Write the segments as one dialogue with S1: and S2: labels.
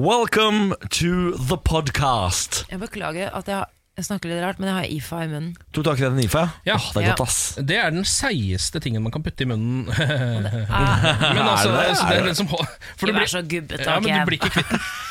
S1: Welcome to the podcast.
S2: Jeg beklager at jeg, har- jeg snakker litt rart, men jeg har IFA i munnen.
S1: Tok tak i den IFA?
S3: Ja.
S1: Åh, det er
S2: Ja.
S1: godt, ass.
S3: Det er den seigeste tingen man kan putte i munnen.
S2: Ah,
S3: Men altså,
S1: Er det det?
S3: altså, det
S1: Er
S3: er
S1: det?
S3: den som hol-
S2: ikke
S3: for du
S2: vær
S3: blir-
S2: så gubbete.
S3: Ja, men
S2: ok?
S3: du blir ikke kvitt den.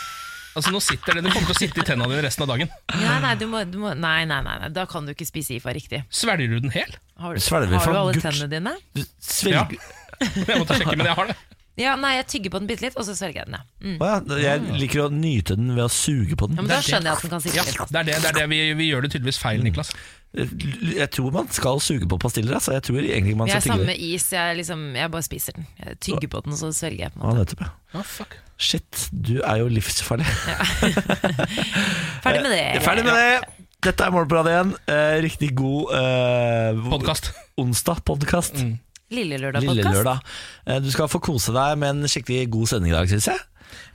S3: Altså, nå sitter den, den kommer til å sitte i tennene dine resten av dagen.
S2: Nei, nei, du må, du må, nei, nei, nei, nei, da kan du ikke spise IFA riktig.
S3: Svelger du den hel?
S2: Har du,
S1: Svelger vi
S2: har
S1: for
S2: du alle
S1: gult?
S2: tennene dine?
S1: Du svelger Å
S3: Jeg måtte sjekke, men jeg har det.
S2: Ja, nei, jeg tygger på den bitte litt, og så svelger jeg den. Ja. Mm.
S1: ja. Jeg liker å nyte den ved å suge på
S2: Ja, men
S1: den.
S2: da skjønner jeg at den kan sitte
S3: Ja,
S2: litt.
S3: det er det, det, er det. Vi, vi gjør det tydeligvis feil, Niklas.
S1: Jeg tror man skal suge på pastiller, altså. Jeg tror egentlig man
S2: Jeg er
S1: skal tygge
S2: samme
S1: det.
S2: is, jeg, liksom, jeg bare spiser den. Jeg tygger på den, og så svelger jeg. på en
S1: Ja,
S2: måte
S1: nettopp. ja.
S3: Ja, fuck.
S1: Shit, du er jo livsfarlig.
S2: Ferdig med det.
S1: Ferdig med det! Dette er Morgenbladet igjen. Eh, riktig god eh,
S3: Podkast.
S1: onsdag-podkast.
S2: Mm. Lille
S1: Lille
S2: lørdag-podkast.
S1: lørdag. Eh, du skal få kose deg med en skikkelig god sending i dag, syns jeg.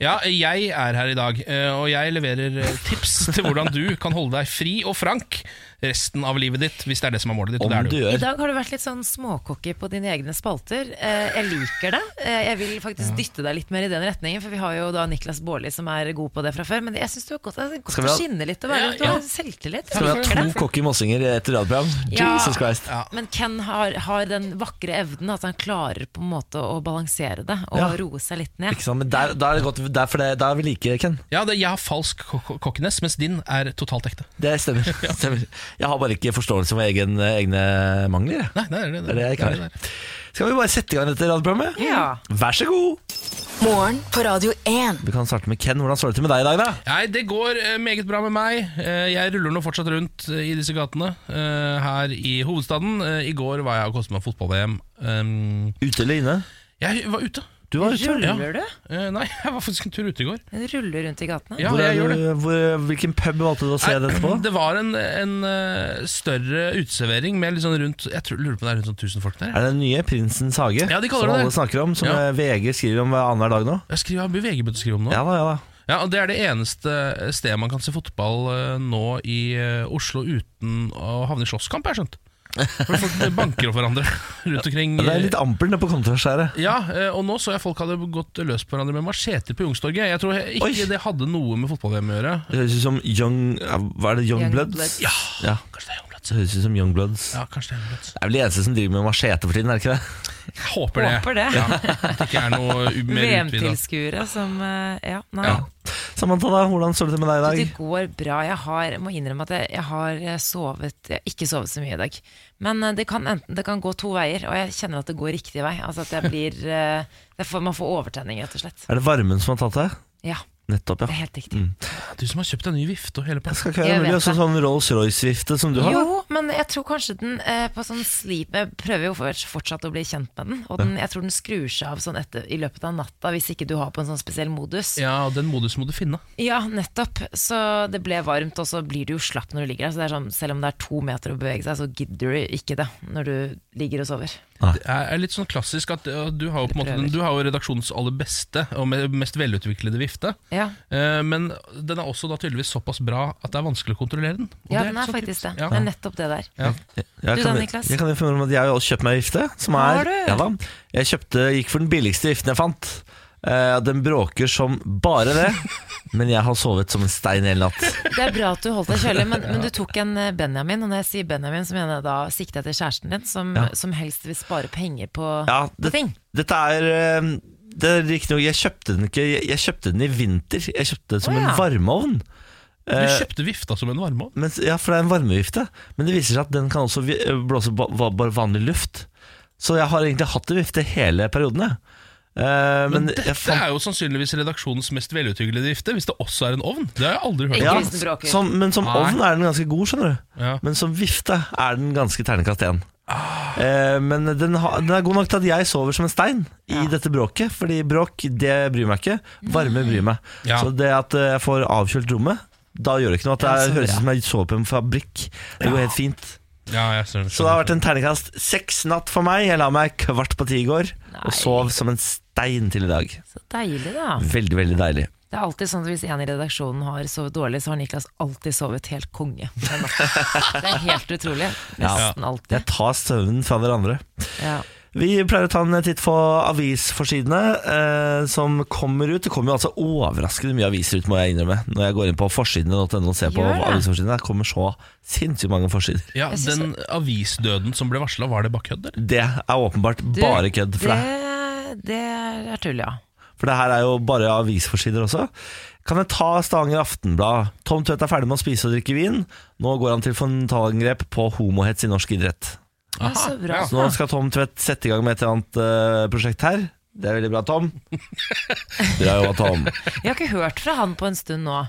S3: Ja, jeg er her i dag, eh, og jeg leverer eh, tips til hvordan du kan holde deg fri og frank resten av livet ditt, hvis det er det som er målet ditt. Og
S1: Om
S3: det er
S1: du
S3: du.
S2: I
S1: gjør.
S2: dag har du vært litt sånn småkokke på dine egne spalter. Eh, Jeg liker det. Eh, Jeg vil faktisk dytte deg litt mer i den retningen, for vi har jo da Niklas Baarli som er god på det fra før. Men jeg syns du er godt, det er
S1: Skal
S2: godt
S1: vi
S2: å
S1: ha-
S2: skinne litt og være
S3: Ja,
S2: litt, du har selvtillit.
S1: Skal vi
S2: Jeg
S1: ha
S2: liker
S1: to
S2: det.
S1: cocky mossinger i et radioprogram?
S2: Ja.
S1: Jesus Christ.
S3: Ja.
S2: Men Ken har, har den vakre evnen at han klarer på en måte å balansere det og
S1: Ja.
S2: roe seg litt ned.
S1: Ikke sant? Men der, der er det godt, der, for det, der er vi like, Ken.
S3: Ja, det, jeg har falsk ko- ko- kokkenes, mens din er totalt ekte.
S1: Det stemmer. stemmer. Jeg har bare ikke forståelse for egen, egne mangler. jeg.
S3: Nei, det er det,
S1: Det er det jeg ikke
S3: det er det.
S1: har. Skal vi bare sette i gang dette radioprogrammet?
S2: Ja.
S1: Vær så god!
S4: Morgen på Radio 1.
S1: Vi kan starte med Ken. Hvordan står det til med deg i dag, da?
S3: Nei, det går eh, meget bra med meg. Eh, Jeg ruller nå fortsatt rundt eh, i disse gatene eh, her i hovedstaden. Eh, I går var jeg og koste meg fotball-VM. Um,
S1: Ute eller inne?
S3: Jeg var ute.
S1: Du var ute.
S3: Ja.
S2: Ruller du?
S3: Eh, Nei, jeg var faktisk en tur ute i går.
S2: Du ruller rundt i gatene?
S3: Ja,
S1: Hvor er
S3: jeg gjør det.
S1: du- hvor, hvilken pub valgte du å se
S3: Nei,
S1: dette på?
S3: Det var en, en eh, større uteservering med litt sånn rundt Jeg tror, lurer på om det er rundt sånn 1000 folk der.
S1: Er det den nye Prinsens hage?
S3: Ja, de kaller
S1: som
S3: det
S1: alle
S3: det.
S1: snakker om, som
S3: Ja.
S1: eh, VG skriver om hver annenhver dag nå?
S3: Jeg skriver, jeg har mye VG begynt å skrive om nå. Ja.
S1: Ja da, ja da.
S3: og Det er det eneste eh, stedet man kan se fotball eh, nå i eh, Oslo uten å havne i slåsskamp, har jeg skjønt. For folk banker opp hverandre rundt omkring.
S1: Ja, Det er litt ampert nede på kontraskjæret.
S3: Ja, eh, og nå så jeg folk hadde gått løs på hverandre med macheter på Youngstorget. Jeg tror ikke
S1: Oi.
S3: det hadde noe med fotball-VM å gjøre.
S1: Det høres ut som Young ja, Hva er det? Young,
S2: Young
S1: Bloods?
S2: Bloods.
S1: Ja.
S3: Kanskje det er Youngblood.
S1: Det høres ut som Young Bloods.
S3: Ja, kanskje det er Youngblood.
S1: Det er vel de eneste som driver med machete for tiden, er det ikke det?
S3: Jeg håper det.
S2: Håper det.
S3: Ja, at det ikke er noe u- mer utvida.
S2: VM-tilskuere som eh, Ja, nei.
S3: Ja.
S1: Samantha, da, hvordan står det til med deg i
S2: Det
S1: dag?
S2: går bra. Jeg har, jeg må innrømme at jeg, jeg har eh, sovet Jeg har ikke sovet så mye i dag. Men eh, det kan, enten, det kan gå to veier, og jeg kjenner at det går riktig vei. Altså at jeg blir eh, det får, Man får overtenning, rett og slett.
S1: Er det varmen som har tatt deg?
S2: Ja,
S1: Nettopp,
S2: det er
S1: ja.
S2: helt riktig.
S3: Du som har kjøpt deg ny vifte og hele pakka.
S1: Det skal ikke
S2: Jeg
S1: være mulig.
S2: vet
S1: Også
S2: det.
S1: sånn Rolls-Royce-vifte som du har.
S2: Jo, men jeg tror kanskje den eh, på sånn sleep Jeg prøver jo for- fortsatt å bli kjent med den, og den, jeg tror den skrur seg av sånn etter, i løpet av natta hvis ikke du har på en sånn spesiell modus.
S3: Ja, og den modusen må du finne.
S2: Ja, nettopp. Så det ble varmt, og så blir du jo slapp når du ligger der. Så det er sånn, selv om det er to meter å bevege seg, så gidder du ikke det når du ligger og sover.
S3: Det er er litt sånn klassisk at uh, du har jo, på en måte,
S2: prøver.
S3: den- du har jo redaksjonens aller beste og me- mest velutviklede vifte.
S2: Ja,
S3: Eh, Men den er også da tydeligvis såpass bra at det er vanskelig å kontrollere den. Og
S2: ja
S3: det
S2: den er
S3: sånn
S2: faktisk det.
S3: typisk.
S2: Det er nettopp det der.
S3: Ja.
S1: Jeg
S2: Du
S1: kan,
S2: da, Niklas?
S1: jeg kan informere om at jeg har jo også kjøpt meg vifte. Som er,
S2: Har du?
S1: Ja da. Jeg kjøpte, gikk for den billigste viften jeg fant. Eh, den bråker som bare det, men jeg har sovet som en stein hele natt.
S2: Det er bra at du holdt deg kjølig, men, men du tok en eh, Benjamin. Og når jeg sier Benjamin, så mener jeg da sikte etter kjæresten din, som,
S1: Ja.
S2: som helst vil spare penger på,
S1: Ja,
S2: på
S1: det,
S2: ting.
S1: dette er eh, det er riktignok Jeg kjøpte den ikke Jeg, jeg kjøpte den i vinter. Jeg kjøpte den som
S2: Å, ja.
S1: en varmeovn.
S3: Du kjøpte vifta som en varmeovn?
S1: Men, ja, for det er en varmevifte. Men det viser seg at den kan også vi- eh, blåse ba- va- bare vanlig luft. Så jeg har egentlig hatt en vifte hele perioden. jeg. Eh, men
S3: Men
S1: jeg
S3: dette
S1: fant,
S3: er jo sannsynligvis redaksjonens mest velutviglede vifte, hvis det også er en ovn. Det har jeg aldri hørt.
S2: Ikke
S1: ja,
S2: hvis den bråker.
S1: som, men som
S3: Nei.
S1: ovn er den ganske god, skjønner du.
S3: Ja. Ah.
S1: Men som vifte er den ganske ternekast én. Eh, men den, har- den er god nok til at jeg sover som en stein i dette bråket. Fordi bråk, det bryr meg ikke. Varme bryr meg.
S3: Ja.
S1: Så det at eh, jeg får avkjølt rommet, da gjør det ikke noe. At det
S2: Ja, så
S1: er, høres
S2: bra.
S1: ut som jeg sover på en fabrikk. Det går helt fint.
S3: Ja, jeg skjønner.
S1: Så det har vært en terningkast seks natt for meg. Jeg la meg kvart på ti i går
S2: Nei.
S1: og sov som en stein til i dag.
S2: Så deilig, da.
S1: Veldig, veldig deilig.
S2: Det er alltid sånn at hvis en i redaksjonen har sovet dårlig, så har Niklas alltid sovet helt konge. den natten. Det er helt utrolig. Nesten alltid.
S1: Jeg tar søvnen fra hverandre.
S2: Ja.
S1: Vi pleier å ta en titt på avisforsidene eh, som kommer ut. Det kommer jo altså overraskende mye aviser ut, må jeg innrømme. Når jeg går inn på forsidene.no og ser på
S2: Gjør det.
S1: avisforsidene, det kommer så sinnssykt mange forsider.
S3: Ja,
S2: Jeg synes
S3: Den avisdøden som ble varsla, var det bare kødd, eller?
S1: Det er åpenbart
S2: Du,
S1: bare kødd for deg.
S2: det, det er tull, ja.
S1: For det her er jo bare avisforsider også. Kan jeg ta Stavanger Aftenblad? Tom Tvedt er ferdig med å spise og drikke vin. Nå går han til frontalangrep på homohets i norsk idrett.
S2: Ja, så bra.
S1: Så nå skal Tom Tvedt sette i gang med et eller annet eh, prosjekt her. Det er veldig bra, Tom. Bra jobba, Tom.
S2: Vi har ikke hørt fra han på en stund nå.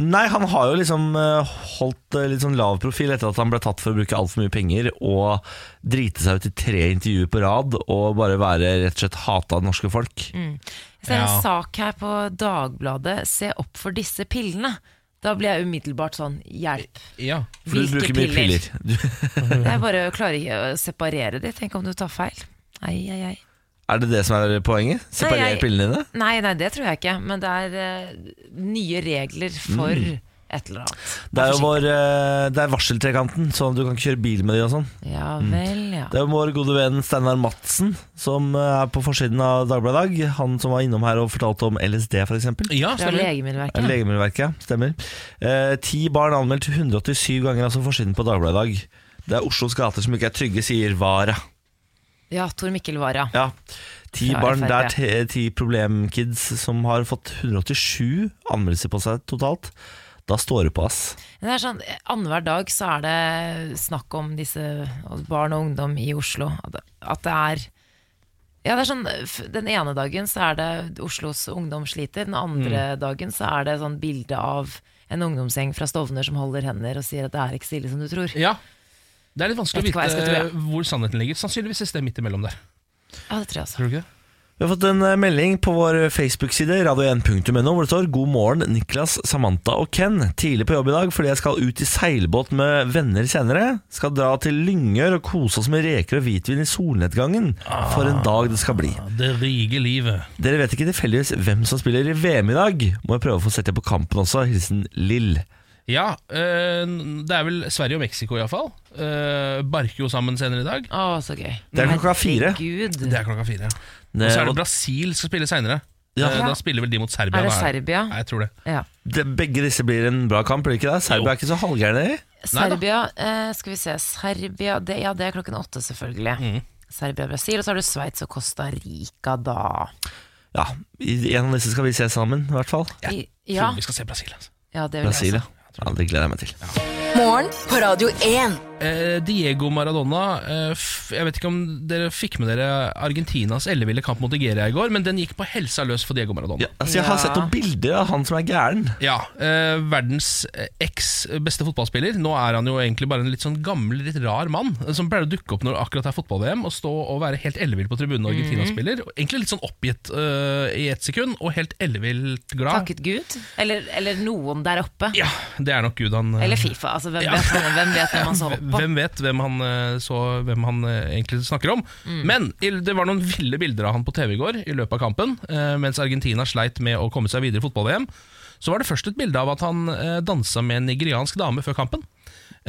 S1: Nei, han har jo liksom eh, holdt eh, litt sånn lav profil etter at han ble tatt for å bruke altfor mye penger og drite seg ut i tre intervjuer på rad og bare være rett og slett hata av det norske folk.
S2: Jeg ser
S3: Ja.
S2: en sak her på Dagbladet 'Se opp for disse pillene'. Da blir jeg umiddelbart sånn 'hjelp'.
S3: Ja.
S1: For du
S2: Hvilke
S1: bruker mye
S2: piller?
S1: piller. Du,
S2: Jeg bare klarer ikke å separere de. Tenk om du tar feil. Ei, ei, ei.
S1: er det det som er poenget? Separer
S2: jeg-
S1: pillene dine?
S2: Nei, nei, det tror jeg ikke. Men det er eh, nye regler for et eller annet.
S1: Mm. Det er jo
S2: Forsiktig.
S1: vår, eh, det er varseltrekanten, sånn at du kan ikke kjøre bil med de og sånn.
S2: Ja vel, ja.
S1: Det er jo vår gode venn Steinar Madsen som eh, er på forsiden av Dagbladet i dag. Han som var innom her og fortalte om LSD, f.eks. Ja.
S2: Fra
S3: ja stemmer.
S2: Legemiddelverket.
S1: Legemiddelverket, stemmer. Eh, Ti barn anmeldt 187 ganger, altså forsiden på Dagbladet i dag. Det er Oslos gater som ikke er trygge, sier Vara.
S2: Ja, Tor Mikkel Wara.
S1: Ja. Ti
S2: Fra
S1: barn, det er
S2: FrP.
S1: te- ti problemkids som har fått 187 anmeldelser på seg totalt. Da står det på, ass.
S2: Det er sånn, Annenhver dag så er det snakk om disse barn og ungdom i Oslo. At det- At det er ja, det er sånn, f- Den ene dagen så er det Oslos ungdom sliter, den andre dagen så er det sånn bilde av en ungdomsgjeng fra Stovner som holder hender og sier at det er ikke så ille som du tror.
S3: Ja. Det er litt
S2: Vet ikke
S3: vanskelig å vite
S2: hva jeg skal tro,
S3: hvor sannheten ligger. Sannsynligvis et sted midt imellom der.
S2: Ja, det tror jeg også.
S3: Tror du ikke det?
S1: Vi har fått en eh, melding på vår Facebook-side, radio1.no, hvor det står God morgen, Niklas, Samantha og Ken. Tidlig på jobb i dag fordi jeg skal ut i seilbåt med venner senere. Skal dra til Lyngør og kose oss med reker og hvitvin i solnedgangen. For en dag det skal bli.
S3: Det rike livet.
S1: Dere vet ikke tilfeldigvis hvem som spiller i VM i dag? Må jeg prøve å få sett det på kampen også. Hilsen Lill.
S3: Ja, eh, det er vel Sverige og Mexico iallfall. Uh, barker jo sammen senere i dag.
S2: Å, så gøy.
S1: Det er klokka fire.
S2: Herregud.
S3: Det er klokka fire. Og så
S1: Eh,
S3: er det Brasil som spiller seinere.
S1: Ja.
S3: Eh, da spiller vel de mot Serbia.
S2: Er det
S3: da
S2: Serbia?
S3: Nei, jeg tror det.
S2: Ja.
S1: Det, begge disse blir en bra kamp, blir det ikke det? Serbia er ikke så halvgærne. de.
S3: Neida.
S2: Serbia, eh, skal vi se Serbia, det, ja det er klokken åtte selvfølgelig
S3: Mm.
S2: Serbia, Brasil, og så har du Schweiz og Costa Rica da
S1: Ja, i- en av disse skal vi se sammen, i hvert fall.
S2: I,
S3: Ja.
S2: ja,
S3: Vi skal se Brasil, altså.
S2: ja, det vil
S1: Brasil,
S2: jeg
S1: ja. Ja, Det gleder jeg meg til.
S4: Morgen på Radio 1.
S3: Eh, Diego Maradona eh, f Jeg vet ikke om dere fikk med dere Argentinas elleville kamp mot Nigeria i går, men den gikk på helsa løs for Diego Maradona.
S1: Ja, altså, jeg har
S2: Ja.
S1: sett noen bilder av han som er gæren.
S3: Ja, eh, verdens eh, eks beste fotballspiller. Nå er han jo egentlig bare en litt sånn gammel, litt rar mann, eh, som pleier å dukke opp når det akkurat er fotball-VM, og stå og være helt ellevill på tribunen når Argentina spiller. Og Egentlig litt sånn oppgitt eh, i ett sekund, og helt ellevilt
S2: også
S3: glad.
S2: Takket Gud, eller, eller noen der oppe
S3: Ja, det er nok Gud han eh,
S2: Eller Fifa, altså hvem,
S3: Ja.
S2: vet, hvem vet hvem man så opp på
S3: Hvem vet hvem han, eh, så, hvem han eh, egentlig snakker om.
S2: Mm.
S3: Men i- det var noen ville bilder av han på TV i går i løpet av kampen. eh, Mens Argentina sleit med å komme seg videre i fotball-VM. Så var det først et bilde av at han eh, dansa med en nigeriansk dame før kampen.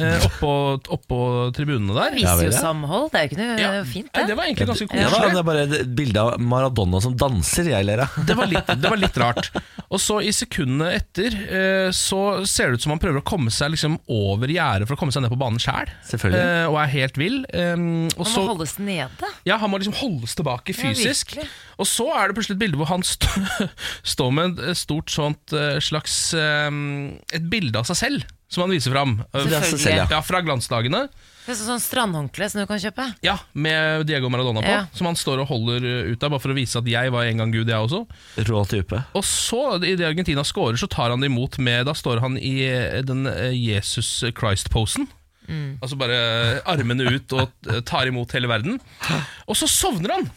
S3: eh, Oppå, oppå tribunene der.
S2: Det viser
S1: vel,
S2: jo
S1: ja.
S2: samhold, det er jo ikke noe
S3: Ja.
S2: fint
S3: Nei,
S2: det
S3: det var egentlig ganske
S1: Ja,
S3: koselig.
S1: det er bare et bilde av Maradona som danser, jeg ler av.
S3: Det var, litt, det var litt rart. Og så i sekundene etter eh, så ser det ut som han prøver å komme seg liksom over gjerdet for å komme seg ned på banen sjæl.
S1: Selvfølgelig.
S3: og er helt vill. Eh, og
S2: Man
S3: så,
S2: må holdes nede
S3: Ja, Han må liksom holdes tilbake
S2: Ja,
S3: fysisk.
S2: virkelig.
S3: og så er det plutselig et bilde hvor han st står med et stort sånt eh, slags eh, Et bilde av seg selv som han viser fram. Eh,
S1: Det er seg
S2: Selvfølgelig.
S1: selv, ja.
S3: Ja, Fra glansdagene.
S2: Det er sånn sånn strandhåndkle som du kan kjøpe
S3: Ja, Med Diego Maradona på,
S2: Ja.
S3: som han står og holder eh, ut av, bare for å vise at jeg var en gang Gud, jeg også.
S1: Rå type.
S3: Og så, idet Argentina scorer, så tar han det imot med Da står han i eh, den eh, Jesus Christ-posen.
S2: Mm.
S3: Altså bare armene ut og eh, tar imot hele verden. Og så sovner han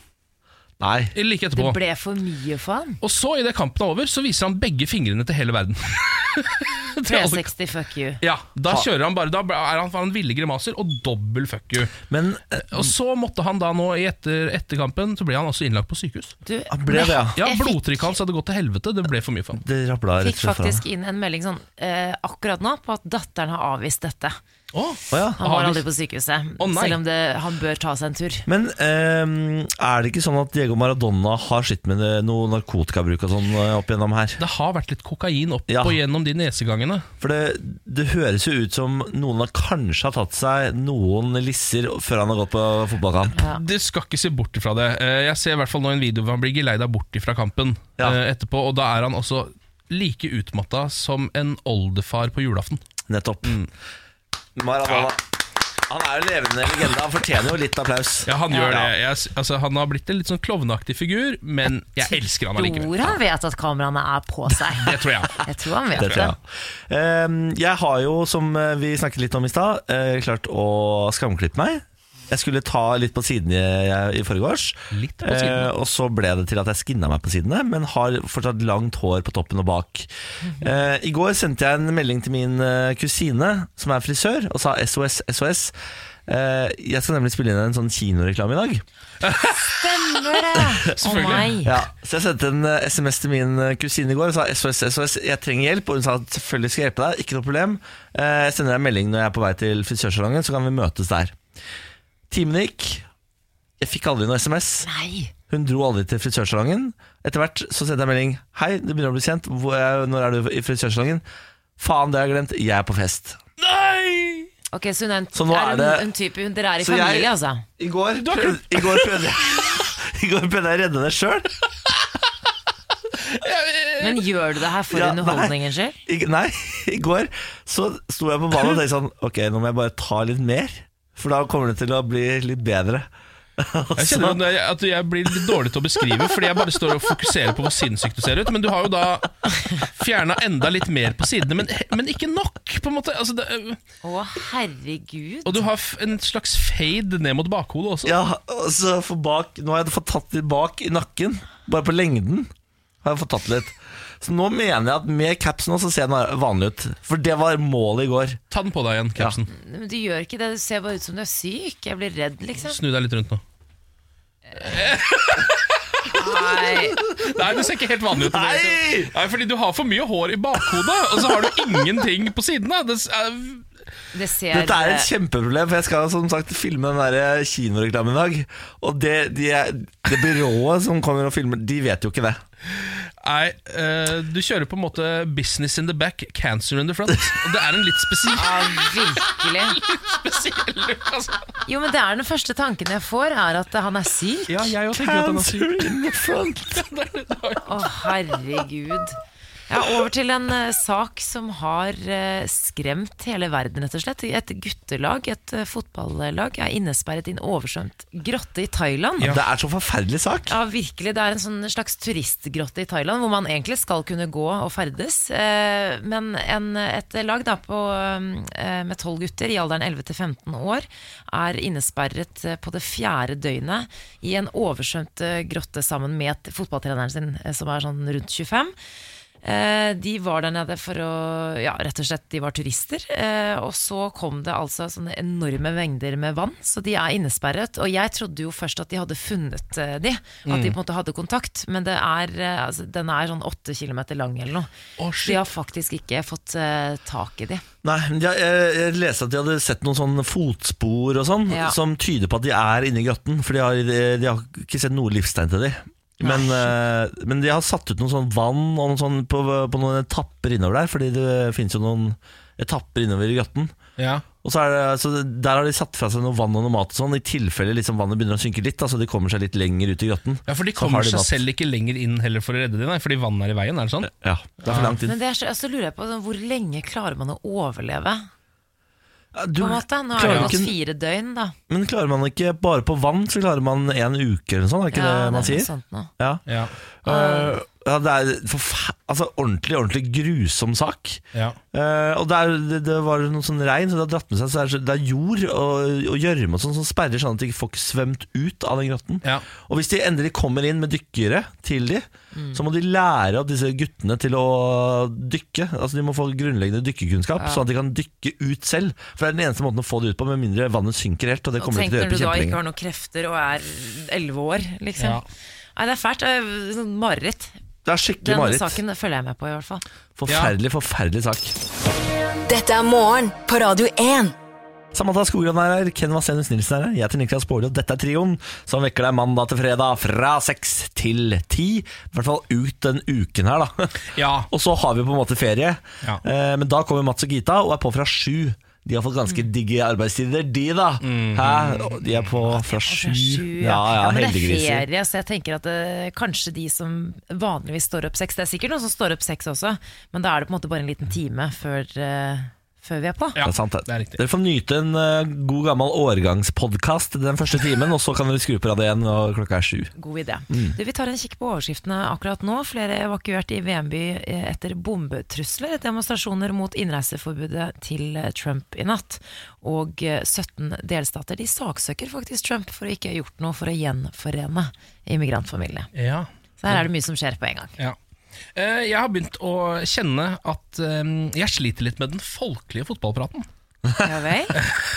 S1: Nei.
S3: like
S2: Det
S3: etterpå.
S2: ble for mye for han
S3: Og så, idet kampen er over, så viser han begge fingrene til hele verden. Til alle-
S2: 360, fuck you
S3: altså- ja, Da kjører han bare Da er han, han ville grimaser og dobbel fuck you.
S1: Men eh,
S3: Og så måtte han da nå, i etter, etter kampen, så ble han også innlagt på sykehus.
S2: Du
S1: han ble det, ja.
S3: Ja,
S2: Jeg fikk-
S3: Blodtrykket hans hadde gått til helvete. Det ble for mye for han.
S1: Det rabla rett og
S2: fikk
S1: slett fra.
S2: faktisk inn en melding sånn eh, akkurat nå på at datteren har avvist dette.
S3: Åh,
S1: Å ja.
S2: Han
S3: Har
S2: var
S3: de-
S2: aldri på sykehuset,
S3: Å, nei.
S2: selv om det, han bør ta seg en tur.
S1: Men ehm, er det ikke sånn at Diego Maradona har slitt med det- noe narkotikabruk og sånn eh, opp igjennom her?
S3: det har vært litt kokain opp
S1: Ja.
S3: og gjennom de nesegangene.
S1: For det, det høres jo ut som noen har kanskje har tatt seg noen lisser før han har gått på fotballkamp.
S2: Ja.
S3: Det skal ikke se bort ifra det. Eh, Jeg ser i hvert fall nå en video hvor han blir geleida bort ifra kampen
S1: Ja.
S3: eh, etterpå, og da er han også like utmatta som en oldefar på julaften.
S1: Nettopp.
S3: Mm.
S1: Maradona. Han er jo levende legende. Han fortjener jo litt applaus.
S3: Ja, Han gjør
S1: Ja.
S3: det. Jeg, s- altså, han har blitt en litt sånn klovneaktig figur, men jeg elsker han allikevel.
S2: Tror han vet at kameraene er på seg.
S3: Det tror jeg.
S2: Jeg tror han vet
S1: Det tror
S2: det.
S1: jeg. Ehm, jeg har jo, som eh, vi snakket litt om i stad, eh, klart å skamklippe meg. Jeg skulle ta litt på sidene jeg- i forgårs,
S3: Litt på sidene.
S1: Eh, og så ble det til at jeg skinna meg på sidene, men har fortsatt langt hår på toppen og bak.
S3: Mhm.
S1: Eh, I går sendte jeg en melding til min eh, kusine, som er frisør, og sa SOS, SOS. Eh, jeg skal nemlig spille inn en sånn kinoreklame i dag.
S2: Stemmer det! Å nei.
S1: Ja, så jeg sendte en eh, SMS til min eh, kusine i går og sa SOS, SOS, jeg trenger hjelp. Og hun sa at selvfølgelig skal jeg hjelpe deg, ikke noe problem. Eh, Jeg sender deg en melding når jeg er på vei til frisørsalongen, så kan vi møtes der. Timene gikk. Jeg fikk aldri noe SMS.
S2: Nei.
S1: Hun dro aldri til frisørsalongen. Etter hvert så sendte jeg melding. Hei, det begynner å bli sent. Hvor er- Når er du i frisørsalongen? Faen, det har jeg glemt. Jeg er på fest.
S3: Nei!
S2: Ok, Så hun er en,
S1: Så nå
S2: er
S1: er
S2: hun,
S1: det-
S2: en type hun, Dere er i
S1: Så jeg-
S2: familie, altså?
S1: I går prøvde, i går prøvde jeg I går prøvde jeg å redde det sjøl.
S2: Men gjør du det her for
S1: Ja,
S2: underholdningens skyld?
S1: I, nei, i går så sto jeg på banen og tenkte sånn Ok, nå må jeg bare ta litt mer, for da kommer det til å bli litt bedre.
S3: Jeg kjenner jo det- at jeg blir litt dårlig til å beskrive, fordi jeg bare står og fokuserer på hvor sinnssykt du ser ut. Men du har jo da fjerna enda litt mer på sidene, men, men ikke nok, på en måte. Altså, det,
S2: Å, herregud.
S3: og du har f- en slags fade ned mot bakhodet også.
S1: Ja, og så for bak Nå har jeg fått tatt litt bak i nakken, bare på lengden. Har jeg fått tatt litt Så nå mener jeg at med caps nå så ser den vanlig ut. For det var målet i går.
S3: Ta den på deg igjen, capsen.
S2: Men du gjør ikke det. Du ser bare ut som du er syk. Jeg blir redd, liksom.
S3: Snu deg litt rundt nå.
S2: Nei.
S3: Nei, det ser ikke helt vanlig ut. Nei! Nei, fordi du har for mye hår i bakhodet, og så har du ingenting på sidene. Det s- eh, er,
S2: Det ser
S1: Dette er et kjempeproblem, for jeg skal som sagt filme den der eh, kinoreklamen i dag. Og det, de, det byrået som kommer og filmer, de vet jo ikke det.
S3: nei, eh, du kjører på en måte business in the back, cancer in the front. Og det er en litt spesiell,
S2: Ja, virkelig.
S3: spesiell look, altså.
S2: Jo, men det er den første tanken jeg får, er at han er syk.
S3: Ja, Ah, jeg òg tenker at han er syk.
S1: Cancer in the front.
S2: Å, herregud. Ja, over til en eh, sak som har eh, skremt hele verden, rett og slett. Et guttelag, et eh, fotballag, er innesperret i en oversvømt grotte i Thailand. Ja.
S1: Det er så forferdelig sak.
S2: virkelig. Det er en sånn slags turistgrotte i Thailand, hvor man egentlig skal kunne gå og ferdes. Eh, Men en, et lag da på, eh, med tolv gutter i alderen 11 til 15 år er innesperret eh, på det fjerde døgnet i en oversvømt eh, grotte sammen med t- fotballtreneren sin, eh, som er sånn rundt 25. Eh, de var der nede for å Ja, rett og slett, de var turister. Eh, og så kom det altså sånne enorme mengder med vann, så de er innesperret. Og jeg trodde jo først at de hadde funnet eh, de, at
S1: Mm.
S2: de på en måte hadde kontakt. Men det er, eh, altså, den er sånn åtte kilometer lang eller noe.
S3: Å, shit.
S2: de har faktisk ikke fått eh, tak i de.
S1: Nei, men jeg, jeg, jeg leste at de hadde sett noen sånne fotspor og sånn,
S2: Ja.
S1: som tyder på at de er inne i grotten. For de har, de, de har ikke sett noe livstegn til de. Men, eh, men de har satt ut noe sånn vann og noe sånn på, på noen etapper innover der, fordi det finnes jo noen etapper innover i grotten.
S3: Ja.
S1: Og så er det, så Der har de satt fra seg noe vann og noe mat og sånn, i tilfelle liksom vannet begynner å synke litt, da, så de kommer seg litt lenger ut i grotten.
S3: ja, for de
S1: Så har
S3: kommer
S1: de
S3: seg
S1: mat.
S3: selv ikke lenger inn heller for å redde dem, nei, fordi vannet er i veien. er det sånn?
S1: Ja, det er for lang tid.
S2: Men det er så, så lurer jeg på sånn, hvor lenge klarer man å overleve?
S1: Ja, Du,
S2: På en måte? Nå er
S1: klarer
S2: det
S1: ikke-
S2: gått fire døgn, da.
S1: Men klarer man ikke bare på vann, så klarer man en uke eller noe sånt, er ikke
S2: Ja,
S1: det man
S2: det er noe
S1: sier?
S2: sånt nå.
S1: Ja.
S3: Ja.
S1: Eh, ja, det er forfe- altså, ordentlig, ordentlig grusom sak.
S3: Ja.
S1: Eh, og det, er, det, det var noe sånn regn, så det har dratt med seg så det er, så- det er jord og og gjørme og sånn som sperrer sånn at de ikke får svømt ut av den grotten.
S3: Ja.
S1: Og hvis de endelig kommer inn med dykkere til de,
S2: Mm.
S1: så må de lære av disse guttene til å dykke. Altså De må få grunnleggende dykkerkunnskap, sånn at de kan dykke ut selv. For det er den eneste måten å få det ut på, med mindre vannet synker helt. Og det
S2: Og
S1: kommer de
S2: tenk
S1: ikke til å gjøre
S2: når du
S1: på
S2: da ikke
S1: kjempelenge.
S2: har noen krefter og er elleve år, liksom.
S3: Ja.
S2: Nei, det er fælt. Det er sånn Mareritt.
S1: Det er skikkelig
S2: Denne
S1: mareritt.
S2: saken følger jeg med på, i hvert fall.
S1: Forferdelig, forferdelig sak.
S4: Dette er morgen på Radio 1.
S1: Samantha Skogran er her, Ken Vasenus Nilsen er her, jeg heter Niklas Baarli, og dette er trioen som vekker deg mandag til fredag fra seks til ti. I hvert fall ut den uken her, da.
S3: Ja.
S1: Og så har vi på en måte ferie,
S3: Ja.
S1: eh, men da kommer Mats og Gita og er på fra sju. De har fått ganske digge arbeidstider, de da. Hæ? De er på fra
S2: Fra sju,
S1: sju.
S2: ja.
S1: Ja, ja,
S2: men det er
S1: heldiggriser.
S2: ferie, så jeg tenker at eh, kanskje de som vanligvis står opp seks Det er sikkert noen som står opp seks også, men da er det på en måte bare en liten time før, eh, før vi er på.
S3: Ja,
S1: det er sant, det.
S3: det er riktig.
S1: Dere får nyte en eh, god gammel årgangspodkast den første timen, og så kan dere skru på radio igjen når klokka er sju.
S2: God idé. Du, vi tar en kikk på overskriftene akkurat nå. Flere evakuert i VM-by eh, etter bombetrusler. Demonstrasjoner mot innreiseforbudet til eh, Trump i natt. Og eh, 17 delstater de saksøker faktisk Trump for å ikke ha gjort noe for å gjenforene immigrantfamiliene.
S3: Ja.
S2: Så her er det mye som skjer på en gang.
S3: Ja. Eh, Jeg har begynt å kjenne at eh, jeg sliter litt med den folkelige fotballpraten.
S2: Ja vel?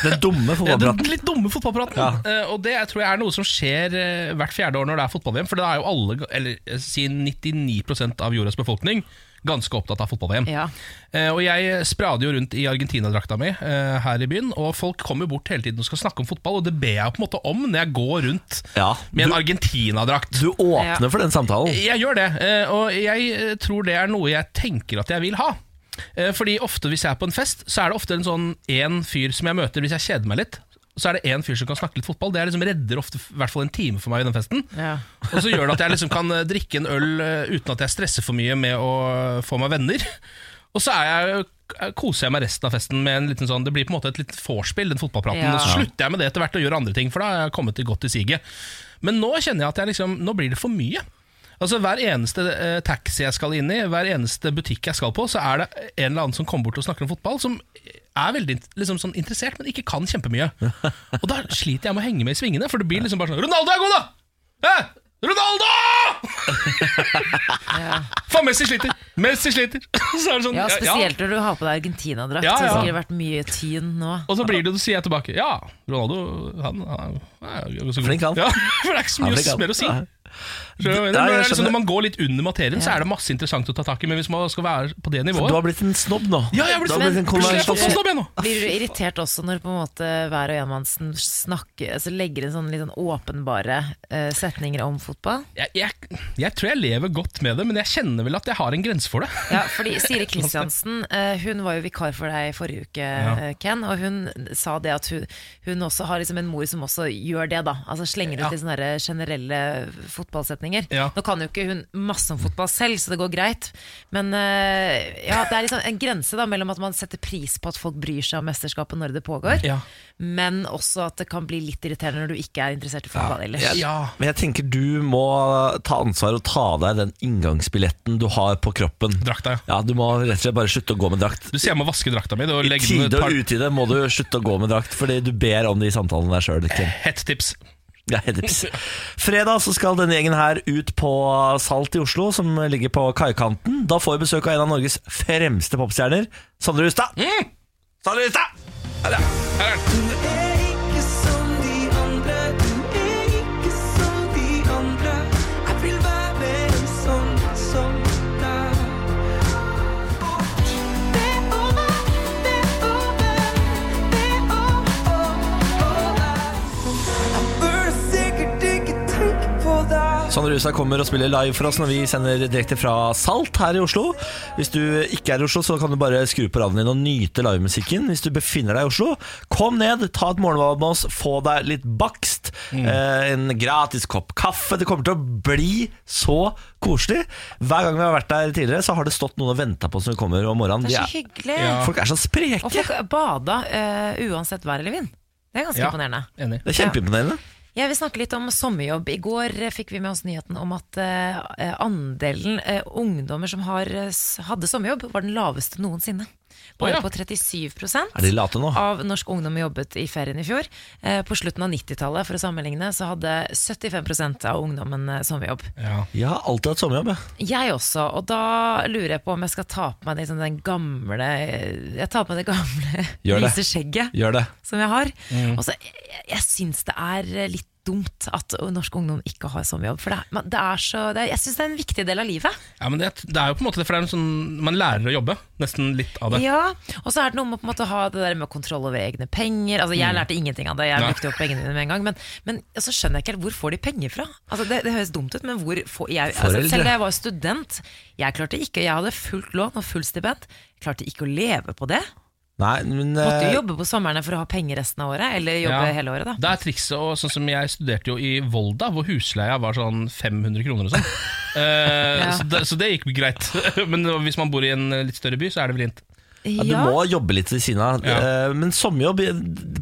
S1: Den dumme
S3: Ja, den
S1: fotballpraten.
S3: litt dumme fotballpraten. Eh, og det jeg tror jeg er noe som skjer eh, hvert fjerde år når det er fotball-VM. For det er jo alle, ga- eller eh, si 99 av jordas befolkning, ganske opptatt av fotball-VM.
S2: Ja.
S3: Eh, og jeg sprader jo rundt i Argentina-drakta mi eh, her i byen, og folk kommer bort hele tiden og skal snakke om fotball, og det ber jeg på en måte om når jeg går rundt
S1: Ja.
S3: med en Argentina-drakt.
S1: Du åpner for den samtalen.
S3: Jeg gjør det, eh, og jeg eh, tror det er noe jeg tenker at jeg vil ha. Eh, Fordi ofte hvis jeg er på en fest, så er det ofte en sånn én fyr som jeg møter hvis jeg kjeder meg litt. Så er det én fyr som kan snakke litt fotball. Det er liksom redder ofte i hvert fall en time for meg i den festen.
S2: Ja.
S3: Og så gjør det at jeg liksom kan eh, drikke en øl eh, uten at jeg stresser for mye med å eh, få meg venner. Og så er jeg, eh, koser jeg meg resten av festen med en liten sånn Det blir på en måte et litt vorspiel, den fotballpraten.
S2: Ja.
S3: Og Så slutter jeg med det etter hvert og gjør andre ting, for da har jeg kommet til godt i siget. Men nå kjenner jeg at jeg liksom Nå blir det for mye. Altså Hver eneste eh, taxi jeg skal inn i, hver eneste butikk jeg skal på, så er det en eller annen som kommer bort og snakker om fotball, som er veldig liksom, sånn interessert, men ikke kan kjempemye. Og da sliter jeg med å henge med i svingene, for det blir liksom bare sånn Ronaldo er god, da! Hæ? Ronaldo! Faen, Messi sliter! Messi sliter! Så er det sånn,
S2: Ja, spesielt når du har på deg Argentina-drakt.
S3: Ja,
S2: Det
S3: ja.
S2: har sikkert vært mye tyn nå.
S3: Og så blir det, så sier jeg tilbake Ja, Ronaldo han, han er jo så god.
S1: Flink han.
S3: Ja, for det er ikke så
S1: Ja,
S3: mye
S1: flink han.
S3: mer å si.
S1: Ja.
S3: Skjønner du hva jeg mener?
S1: Nei,
S3: Men det
S1: jeg
S3: er liksom,
S1: skjønner.
S3: når man går litt under materien, så er det masse interessant å ta tak i. Men hvis man skal være på det
S1: Du har
S3: nivået
S1: blitt en snobb nå.
S3: Ja, jeg har blitt
S1: Du har blitt en
S3: snobb. Plutselig er jeg fått
S1: konvensjonell-
S3: snobb jeg nå.
S2: Blir du irritert også når på en måte hver og enmannsen snakker, altså legger inn sånne litt sånn åpenbare eh, setninger om fotball?
S3: Jeg, jeg, jeg tror jeg lever godt med det, men jeg kjenner vel at jeg har en grense for det.
S2: Ja, fordi Siri Kristiansen eh, Hun var jo vikar for deg forrige uke, eh, Ken. Og hun sa det at hun, hun også har liksom en mor som også gjør det. da Altså Slenger ut
S3: Ja.
S2: litt sånne der generelle eh, fotballsetninger.
S3: Ja.
S2: Nå kan jo ikke hun masse om fotball selv, så det går greit. Men eh, ja, det er liksom en grense da mellom at man setter pris på at folk bryr seg om mesterskapet når det pågår,
S3: Ja.
S2: men også at det kan bli litt irriterende når du ikke er interessert i fotball ellers.
S1: Jeg-
S3: Ja.
S1: Men jeg tenker du må ta ansvar og ta av deg den inngangsbilletten du har på kroppen.
S3: Drakta, ja.
S1: Ja, Du må rett og slett bare slutte å gå med drakt.
S3: Du sier jeg må vaske drakta mi.
S1: I tide og utide må du slutte å gå med drakt, fordi du ber om det i samtalen der sjøl.
S3: Hett tips.
S1: Ja, Edips. Fredag så skal denne gjengen her ut på Salt i Oslo, som ligger på kaikanten. Da får vi besøk av en av Norges fremste popstjerner, Sondre Hustad. Sondre Hustad!
S3: Her er den.
S5: Du er ikke som de andre, du er ikke som de andre. Jeg vil være en sånn som deg. Det er over, det er over, det er over. Jeg burde sikkert ikke tenke på deg.
S1: Sondre Hustad kommer og spiller live for oss når vi sender direkte fra Salt her i Oslo. Hvis du ikke er i Oslo, så kan du bare skru på radioen din og nyte livemusikken. Hvis du befinner deg i Oslo, kom ned, ta et morgenvalg med oss, få deg litt bakst. Eh, en gratis kopp kaffe. Det kommer til å bli så koselig. Hver gang vi har vært der tidligere, så har det stått noen og venta på oss når vi kommer om morgenen.
S2: Det
S1: De
S2: er så hyggelig.
S3: Ja.
S1: folk er så
S2: Og
S1: spreke.
S2: folk bada eh, uansett vær eller vind. Det er ganske
S3: Ja.
S2: imponerende.
S3: Enig.
S1: Det er kjempeimponerende.
S2: Jeg vil snakke litt om sommerjobb. I går eh, fikk vi med oss nyheten om at eh, eh, andelen eh, ungdommer som har, eh, s- hadde sommerjobb, var den laveste noensinne.
S3: Å, ja.
S2: Bare på 37
S1: Er de late nå?
S2: av norsk ungdom jobbet i ferien i fjor. Eh, På slutten av 90-tallet for å sammenligne, så hadde 75 av ungdommen eh, sommerjobb.
S3: Ja.
S1: Jeg har alltid hatt sommerjobb, jeg.
S2: Jeg også, og da lurer jeg på om jeg skal ta på meg liksom den gamle Jeg tar på meg det gamle
S1: Gjør det. Mm.
S2: lyse skjegget
S1: Gjør det.
S2: som jeg har. Og så, jeg, jeg syns det er litt dumt at ø, norsk ungdom ikke har sommerjobb. For det er, man- det er så, det er, jeg syns det er en viktig del av livet.
S3: Ja, men det, det er jo på en måte det, for det er en sånn, man lærer å jobbe. Nesten litt av det.
S2: Ja, Og så er det noe med å på en måte ha det der med kontroll over egne penger. Altså
S1: Mm.
S2: Jeg lærte ingenting av det, jeg
S3: Nei.
S2: brukte opp pengene mine med en gang. Men, men så skjønner jeg ikke helt hvor får de penger fra? Altså Det, det høres dumt ut, men hvor får jeg altså,
S1: Foreldre.
S2: Selv da jeg var student, jeg klarte ikke Jeg hadde fullt lån og fullt stipend. Klarte ikke å leve på det.
S1: Nei, men
S2: Måtte
S1: eh,
S2: jo jobbe på sommerne for å ha penger resten av året. Eller jobbe
S3: Ja.
S2: hele året, da.
S3: Det er trikset, og sånn som jeg studerte jo i Volda, hvor husleia var sånn 500 kroner og sånn. Eh,
S2: Ja.
S3: så, det, så det gikk greit. Men hvis man bor i en eh, litt større by, så er det vrient.
S1: ja, du må jobbe litt ved siden av.
S3: Ja.
S1: Eh, Men sommerjobb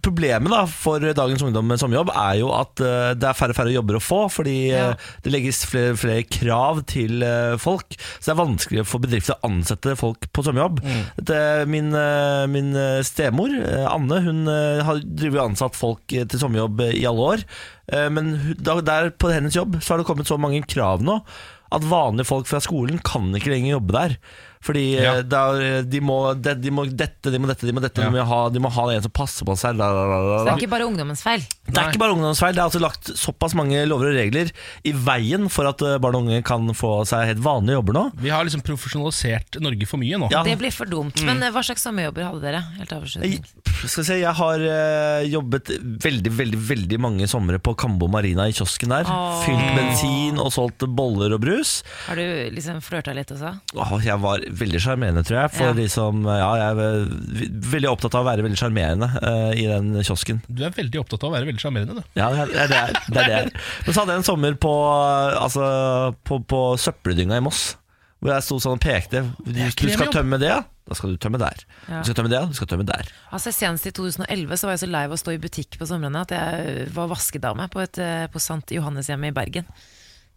S1: Problemet da for dagens ungdom med sommerjobb er jo at eh, det er færre færre jobber å få, fordi
S2: Ja.
S1: eh, det legges flere, flere krav til eh, folk. Så det er vanskeligere for bedrifter å ansette folk på sommerjobb. Det, min, eh, min eh, stemor, eh, Anne, hun eh, har driver jo ansatt folk eh, til sommerjobb eh, i alle år. Eh, Men hun- da- der på hennes jobb så har det kommet så mange krav nå at vanlige folk fra skolen kan ikke lenger jobbe der. Fordi eh,
S3: Ja.
S1: da, eh, de, må, de, de må dette, de må dette, de må dette
S3: Ja.
S1: de, må ha, de må ha en som passer på seg la, la, la, la,
S2: Så det
S1: la.
S2: er ikke bare ungdommens feil.
S1: Det er
S3: Nei.
S1: ikke bare ungdomsfeil Det er altså lagt såpass mange lover og regler I veien for at eh, barn og unge kan få seg helt vanlige jobber nå
S3: Vi har liksom profesjonalisert Norge for mye nå.
S1: Ja. Mm.
S2: Det blir for dumt. Men eh, hva slags sommerjobber hadde dere? Helt av
S1: jeg,
S2: avslutning.
S1: skal jeg, si, jeg har eh, jobbet veldig, veldig, veldig mange somre på Kambo Marina i kiosken der
S2: Åh.
S1: Fylt bensin og solgt boller og brus
S2: Har du liksom flørta litt også?
S1: Åh, jeg var veldig sjarmerende, tror jeg. For
S2: Ja.
S1: liksom, ja, jeg er ve- veldig opptatt av å være veldig sjarmerende eh, i den kiosken.
S3: Du er veldig opptatt av å være veldig sjarmerende, du.
S1: Ja, det er det. Er, det, er, det, er det jeg er. Men så hadde jeg en sommer på, altså, på, på søppeldynga i Moss. Hvor jeg sto sånn og pekte. Du, du skal
S3: kremjobb.
S1: tømme det, ja? Da skal du tømme der.
S2: Ja.
S1: Du skal tømme det, ja? Du skal tømme der.
S2: Altså Senest i 2011 så var jeg så lei av å stå i butikk på somrene at jeg var vaskedame på, et, eh, på Sant Johanneshjemmet i Bergen.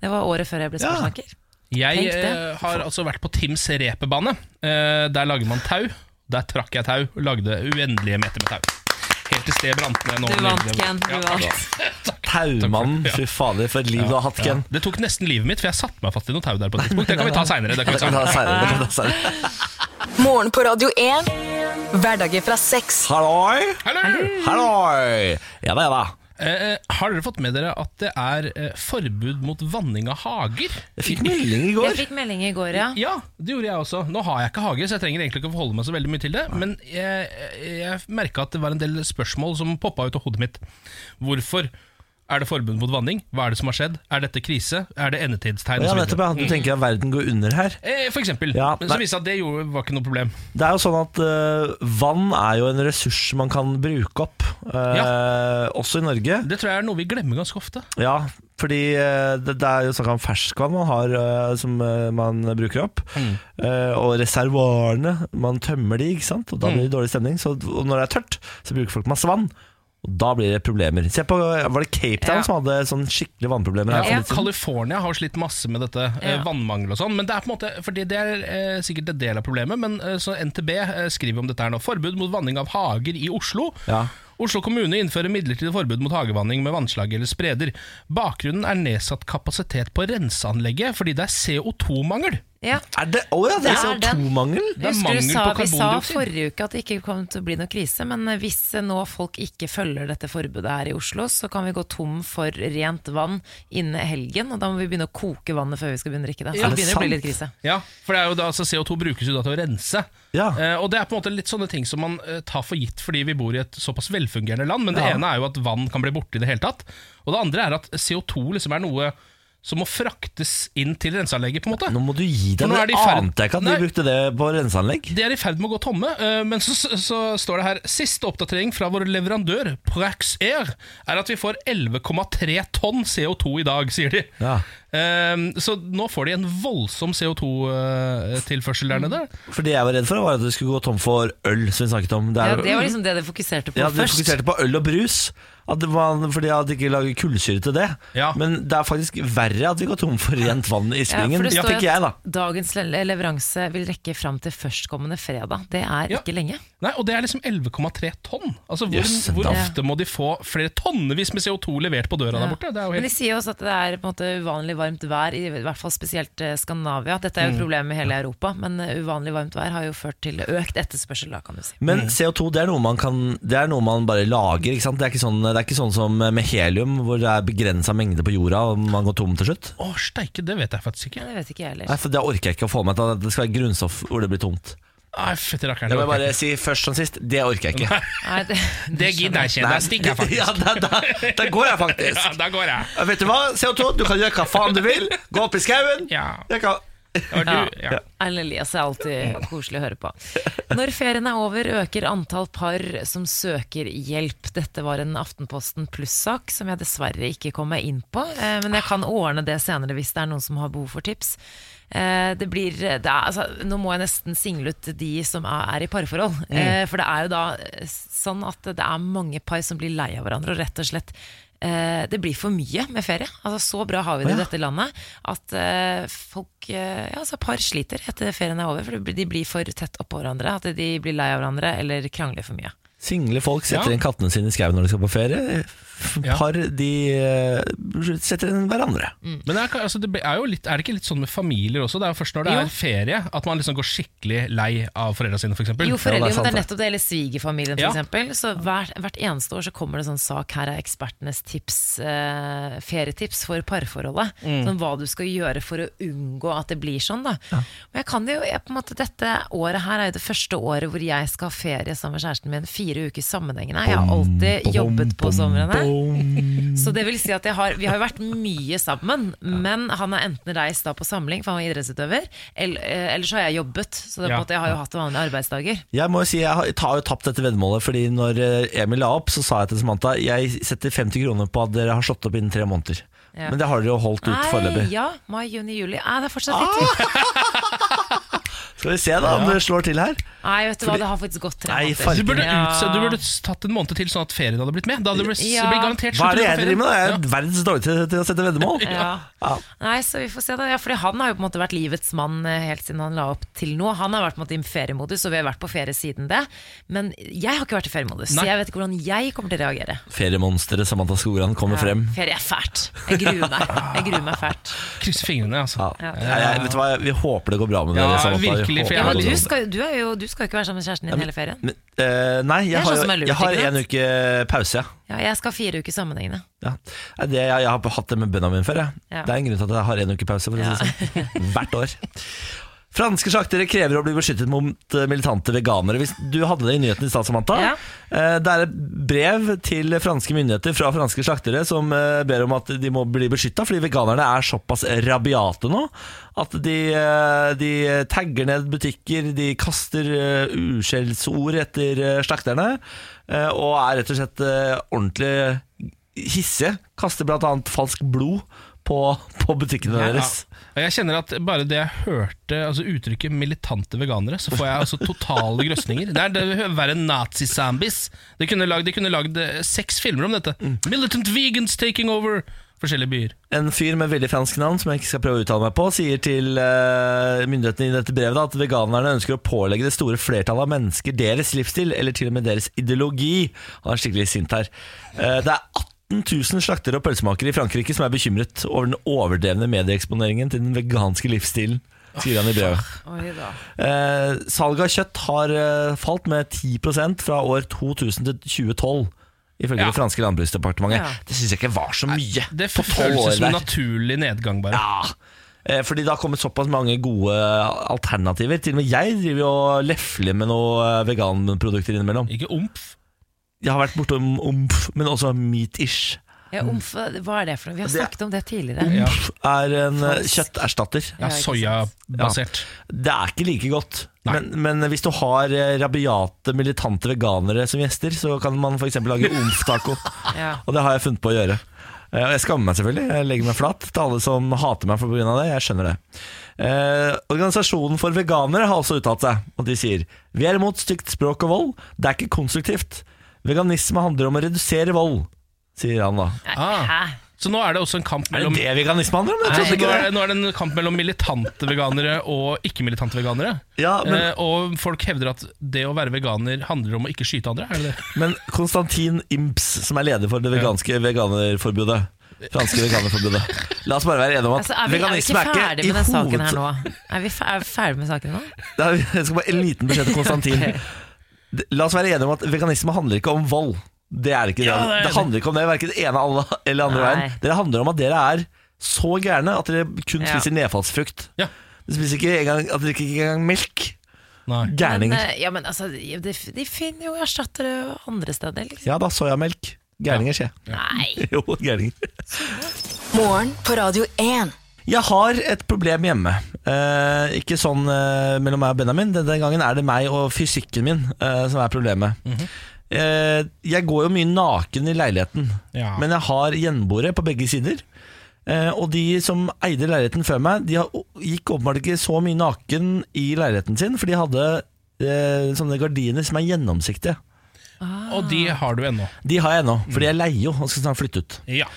S2: Det var året før jeg ble
S1: Ja.
S2: sportssnakker.
S3: Jeg
S2: Tenk det.
S3: eh, har altså vært på Tims reperbane. Eh, der lager man tau. Der trakk jeg tau. Lagde uendelige meter med tau. Helt til stedet brant ned. nå
S2: Du vant,
S3: nylig.
S2: Ken. Du
S3: Ja,
S2: vant.
S1: Taumannen, fy fader, for et liv du har hatt, Ken.
S3: Det tok nesten livet mitt, for jeg satte meg fast i noe tau der. på et tidspunkt Det kan vi ta seinere. Det, kan vi
S1: Det kan
S3: ta
S1: ta
S3: senere.
S1: senere, det kan ta senere.
S4: Morgen på Radio 1. Hverdager fra seks.
S1: Halloi!
S3: Hallo!
S1: Halloi! Ja da, ja da.
S3: Eh, har dere fått med dere at det er eh, forbud mot vanning av hager?
S1: Jeg fikk melding i
S2: Jeg
S1: går.
S2: fikk melding i går, ja.
S3: Ja, det gjorde jeg også. Nå har jeg ikke hage, så jeg trenger egentlig ikke å forholde meg så veldig mye til det. Men jeg, jeg merka at det var en del spørsmål som poppa ut av hodet mitt. Hvorfor er det forbud mot vanning? Hva er det som har skjedd? Er dette krise? Er det endetidstegn?
S1: Ja,
S3: og så
S1: nettopp,
S3: videre?
S1: ja. Du tenker
S2: Mm.
S1: at verden går under her.
S3: Eh, For eksempel.
S1: Ja,
S3: men
S1: nei.
S3: så viste det seg at det gjorde, var ikke noe problem.
S1: Det er jo sånn at eh, vann er jo en ressurs man kan bruke opp, eh, også i Norge.
S3: Det tror jeg er noe vi glemmer ganske ofte.
S1: Ja, fordi eh, det, det er jo snakk om ferskvann man har eh, som eh, man bruker opp.
S3: Mm.
S1: Eh, og reservoarene, man tømmer de, ikke sant?
S3: Mm.
S1: og da blir det dårlig stemning. Så, og når det er tørt, så bruker folk masse vann. Og da blir det problemer. Se på, Var det Cape Town
S2: Ja.
S1: som hadde sånn skikkelig vannproblemer? her
S2: Ja.
S1: for litt siden?
S3: California har slitt masse med dette
S2: Ja.
S3: eh, vannmangel og sånn. Men det er på en måte Fordi det er eh, sikkert en del av problemet, men eh, så NTB eh, skriver om dette her nå. Forbud mot vanning av hager i Oslo.
S1: Ja.
S3: Oslo kommune innfører midlertidig forbud mot hagevanning med vannslag eller spreder. Bakgrunnen er nedsatt kapasitet på renseanlegget fordi det er CO2-mangel.
S2: ja.
S1: Er det, oh ja, det er
S2: Det er den.
S1: CO2-mangel?
S3: Det er
S2: Husker du
S3: mangel
S2: sa,
S3: på
S2: vi sa
S3: karbondioksid.
S2: forrige uke at det ikke kom til å bli noe krise, men hvis nå folk ikke følger dette forbudet her i Oslo, så kan vi gå tom for rent vann innen helgen, og da må vi begynne å koke vannet før vi skal begynne å drikke det. Så
S1: Er
S2: det
S1: det
S2: begynner å bli
S1: sant?
S2: litt krise.
S3: Ja, for det er jo da, altså CO2 brukes jo da til å rense.
S1: Ja.
S3: Eh, og det er på en måte litt sånne ting som man eh, tar for gitt fordi vi bor i et såpass velfungerende land. Men det
S1: Ja.
S3: ene er jo at vann kan bli borte i det hele tatt. Og det andre er at CO2 liksom er noe som må fraktes inn til renseanlegget, på en måte.
S1: Nå må du gi
S3: For
S1: deg.
S3: nå er de
S1: Det
S3: i ferd-
S1: ante jeg ikke at
S3: Nei.
S1: de brukte det på renseanlegg.
S3: De er i ferd med å gå tomme, eh, men så, så- så står det her Siste oppdatering fra vår leverandør, Prax Air, er at vi får 11,3 tonn CO2 i dag, sier de.
S1: Ja.
S3: Eh, Så nå får de en voldsom CO2-tilførsel eh, der nede.
S1: For det jeg var redd for, var at du skulle gå tom for øl, som vi snakket om. Det
S2: Ja,
S1: er,
S2: det var liksom det de fokuserte på
S1: Ja, du
S2: først.
S1: fokuserte på øl og brus, at det var, fordi at de ikke lager kullsyre til det.
S3: Ja.
S1: Men det er faktisk verre at vi går tom for rent vann i
S2: Ja, for
S1: springen,
S2: det står
S1: tenker jeg da.
S2: at dagens le- leveranse vil rekke fram til førstkommende fredag. Det er
S3: Ja.
S2: ikke lenge.
S3: Nei, Og det er liksom 11,3 tonn. Altså Hvor,
S1: Jøss,
S3: hvor
S1: da.
S3: ofte må de få flere tonnevis med CO2 levert på døra der borte? Det er jo
S2: Men de
S3: helt
S2: sier jo også at det er på en måte uvanlig varmt vær, i hvert fall spesielt eh, Skandinavia. Dette
S1: Mm.
S2: er jo et problem i hele Europa, men eh, uvanlig varmt vær har jo ført til økt etterspørsel, da, kan du si.
S3: Mm.
S1: Men CO2 det er noe man kan Det er noe man bare lager. ikke sant? Det er ikke sånn, det er ikke sånn som med helium, hvor det er begrensa mengde på jorda og man går tom til slutt.
S3: Å, steike, det vet jeg faktisk ikke.
S2: Men det vet ikke jeg heller.
S1: Nei, for Det orker jeg ikke å få med meg til. Det skal være grunnstoff hvor det blir tomt.
S3: Nei, fytti rakkeren.
S1: Det må jeg
S3: det orker jeg
S1: bare si først som sist. Det orker jeg ikke.
S2: Nei, det,
S3: ikke. Det gidder jeg ikke. Da stikker jeg faktisk.
S1: Ja, da, da, da går jeg faktisk.
S3: Ja, da går jeg.
S1: Ja, Vet du hva, CO2, du kan gjøre hva faen du vil. Gå opp i skauen.
S3: Ja.
S1: Jeg kan-
S3: Det var du. Ja.
S2: Erlend Elias er alltid koselig å høre på. Når ferien er over, øker antall par som søker hjelp. Dette var en Aftenposten pluss-sak som jeg dessverre ikke kom meg inn på. eh, Men jeg kan ordne det senere hvis det er noen som har behov for tips. Eh, Det blir, det er, altså, nå må jeg nesten single ut de som er, er i parforhold. Eh, For det er jo da eh, sånn at det er mange par som blir lei av hverandre og rett og slett eh, det blir for mye med ferie. Altså, så bra har vi det i dette landet at eh, folk, eh, ja, altså, par sliter etter ferien er over. For det blir- de blir for tett oppå hverandre. At de blir lei av hverandre eller krangler for mye.
S1: Single folk setter
S3: Ja.
S1: inn kattene sine i skauen når de skal på ferie. F-
S3: Ja.
S1: Par de eh, setter inn hverandre.
S2: Mm.
S3: Men det er, ikke- altså, det er, jo litt, er det ikke litt sånn med familier også? Det er jo først når det
S2: Jo.
S3: er ferie at man liksom går skikkelig lei av foreldra sine, f.eks. For eksempel.
S2: Jo, foreldre,
S1: Ja, det er
S2: men det er
S1: sant,
S2: nettopp det, eller svigerfamilien
S3: Ja.
S2: f.eks. Så hvert, hvert eneste år så kommer det sånn sak her er ekspertenes tips, eh, ferietips for parforholdet. Sånn hva du skal gjøre for å unngå at det blir sånn, da. Men jeg kan det jo, jeg, på en måte, dette året her er jo det første året hvor jeg skal ha ferie sammen med kjæresten min fire uker sammenhengende. Jeg har alltid jobbet på somrene. Så det vil si at jeg har, vi har jo vært mye sammen, men han har enten reist da på samling, for han var idrettsutøver, eller, eh, eller så har jeg jobbet. Så det, er på
S3: Ja.
S2: en måte, jeg har jo hatt vanlige arbeidsdager.
S1: Jeg må jo si, jeg har jeg har jo tapt dette veddemålet, fordi når eh, Emil la opp, så sa jeg til Samantha jeg setter 50 kroner på at dere har slått opp innen tre måneder.
S2: Ja.
S1: Men det har dere jo holdt ut foreløpig.
S2: ja. Mai, juni, juli. Nei, det er fortsatt litt tid.
S1: Skal vi se da om det slår til her.
S2: Nei, vet du hva, det har faktisk gått tre
S1: Ah! Nei,
S2: måneder.
S1: farken.
S3: Du burde,
S2: Ja.
S3: utse, du burde tatt en måned til, sånn at ferien hadde blitt med. Da hadde det blitt,
S2: Ja.
S3: blitt garantert
S1: Hva er det
S3: slutt
S1: jeg
S3: på
S1: driver med? da? Jeg
S3: ferien.
S1: er verdens dårligste til, til å sette veddemål.
S2: Ja.
S1: Ja.
S2: Nei, så vi får se da. Ja, fordi han har jo på en måte vært livets mann eh, helt siden han la opp til nå. Han har vært på en måte i feriemodus, og vi har vært på ferie siden det. Men jeg har ikke vært i feriemodus,
S3: Nei.
S2: så jeg vet ikke hvordan jeg kommer til å reagere.
S1: Feriemonsteret Samantha Skogran kommer frem.
S2: Ferie er fælt. Jeg gruer meg. Jeg gruer meg fælt.
S3: Ja. Krysse fingrene, altså.
S1: Ja. Jeg, jeg, vet du hva, Vi håper det går bra med
S3: Ja, sånn.
S1: dere. Samantha. Vi
S3: virkelig, for
S1: håper
S2: Ja,
S3: jeg
S1: det
S3: har
S1: går
S2: men du
S1: bra.
S2: skal, du, er jo, du skal jo ikke være sammen med kjæresten din hele ferien.
S1: Men, eh, nei, jeg
S2: er
S1: har,
S2: sånn som
S1: jo,
S2: er lurt,
S1: jeg har
S2: ikke
S1: en
S2: sant?
S1: uke pause, ja.
S2: Ja, jeg skal ha fire uker sammenhengende.
S1: ja. Nei, Det, jeg, jeg har hatt det med bønna mine før. Jeg.
S2: Ja.
S1: Det er en grunn til at jeg har en uke pause. For å si det sånn. Hvert år. Franske slaktere krever å bli beskyttet mot eh, militante veganere. Hvis du hadde det i nyheten i stad, Samantha.
S2: Ja.
S1: Eh, Det er et brev til franske myndigheter fra franske slaktere som eh, ber om at de må bli beskytta, fordi veganerne er såpass rabiate nå at de, eh, de tagger ned butikker, de kaster eh, uskjellsord etter eh, slakterne, eh, og er rett og slett eh, ordentlig hissige. Kaster bl.a. falskt blod på, på butikkene
S3: Ja.
S1: deres.
S3: Og Jeg kjenner at bare det jeg hørte altså uttrykket 'militante veganere', så får jeg altså totale grøsninger. Det er det hø- verre enn nazi-zombies. De kunne lagd- de kunne lagd eh, seks filmer om dette.
S1: Mm.
S3: 'Militant vegans taking over' forskjellige byer.
S1: En fyr med veldig fransk navn som jeg ikke skal prøve å uttale meg på, sier til eh, myndighetene i dette brevet da, at veganerne ønsker å pålegge det store flertallet av mennesker deres livsstil, eller til og med deres ideologi. Han er skikkelig sint her. Eh, det er 18 000 slaktere og pølsemakere i Frankrike som er bekymret over den overdrevne medieeksponeringen til den veganske livsstilen, sier han i brevet.
S2: Oi da.
S1: Eh, salget av kjøtt har eh, falt med 10 fra år 2000 til 2012. Ifølge
S3: Ja.
S1: det franske landbruksdepartementet.
S2: Ja.
S1: Det syns jeg ikke var så mye.
S3: Det
S1: på tolv år
S3: føles som en
S1: der.
S3: naturlig nedgang, bare.
S1: Ja, eh, fordi det har kommet såpass mange gode alternativer. Til og med jeg driver jo og lefler med noen eh, veganprodukter innimellom.
S3: Ikke omf.
S1: Jeg har vært bortom omf, men også meat-ish.
S2: Ja, omf, hva er det for noe? Vi har
S1: Det-
S2: snakket om det tidligere.
S3: Ja.
S1: Omf er en eh,
S2: Falsk.
S1: kjøtterstatter.
S3: Ja,
S2: Ja, ikke sant.
S3: Soyabasert.
S1: Det er ikke like godt.
S3: Nei.
S1: Men, men hvis du har eh, rabiate, militante veganere som gjester, så kan man f.eks. lage omf-taco.
S2: Ja.
S1: Og det har jeg funnet på å gjøre. Eh, Og jeg skammer meg selvfølgelig. Jeg legger meg flat til alle som hater meg for grunn av det. Jeg skjønner det. Eh, organisasjonen for veganere har også uttalt seg, og de sier Vi er imot stygt språk og vold. Det er ikke konstruktivt. Veganisme handler om å redusere vold, sier han da.
S2: Nei,
S3: Ah.
S2: Hæ?
S3: Så nå er det også en kamp
S1: Er det
S3: mellom
S1: det veganisme handler om? Jeg
S3: Nei,
S1: trodde
S3: nå,
S1: ikke
S3: er
S1: det.
S3: det, nå er det en kamp mellom militante veganere og ikke-militante veganere.
S1: Ja, men,
S3: eh, og folk hevder at det å være veganer handler om å ikke skyte andre. Er det det?
S1: men Konstantin Imps, som er leder for det veganske veganerforbudet, franske veganerforbundet. La oss bare være enige om at
S2: Altså, er, vi, er vi
S1: veganisme
S2: ikke
S1: er ikke
S2: ferdig
S1: i
S2: med den saken her
S1: hoved-
S2: nå? Er vi, fer er vi ferdig med saken nå?
S1: Det er, jeg skal bare En liten beskjed til Konstantin. Det- La oss være enige om at veganisme handler ikke om vold. Det er ikke det.
S3: Ja, det er
S1: det,
S3: det.
S1: handler ikke om det, verken ene alle- eller andre
S2: Nei.
S1: veien. Det handler om at dere er så gærne at dere kun
S2: Ja.
S1: spiser nedfallsfrukt.
S3: Ja.
S1: Dere spiser ikke engang, at dere ikke ikke engang melk.
S3: Nei.
S2: Men,
S1: Gærninger.
S2: eh, ja, men altså, de, de finner jo erstattere andre steder, liksom.
S1: Ja da, soyamelk. Gærninger, skje.
S2: Nei.
S1: Jo, gærninger.
S4: Morgen på Radio 1.
S1: Jeg har et problem hjemme. Eh, ikke sånn eh, mellom meg og Benjamin. Denne gangen er det meg og fysikken min eh, som er problemet. eh, jeg går jo mye naken i leiligheten,
S3: Ja.
S1: men jeg har gjenboere på begge sider. Eh, og de som eide leiligheten før meg, de har, gikk åpenbart ikke så mye naken i leiligheten sin, for de hadde eh, sånne gardiner som er gjennomsiktige.
S3: Og de har du ennå.
S1: De har jeg ennå, fordi jeg leier jo og skal snart flytte ut.
S3: Ja.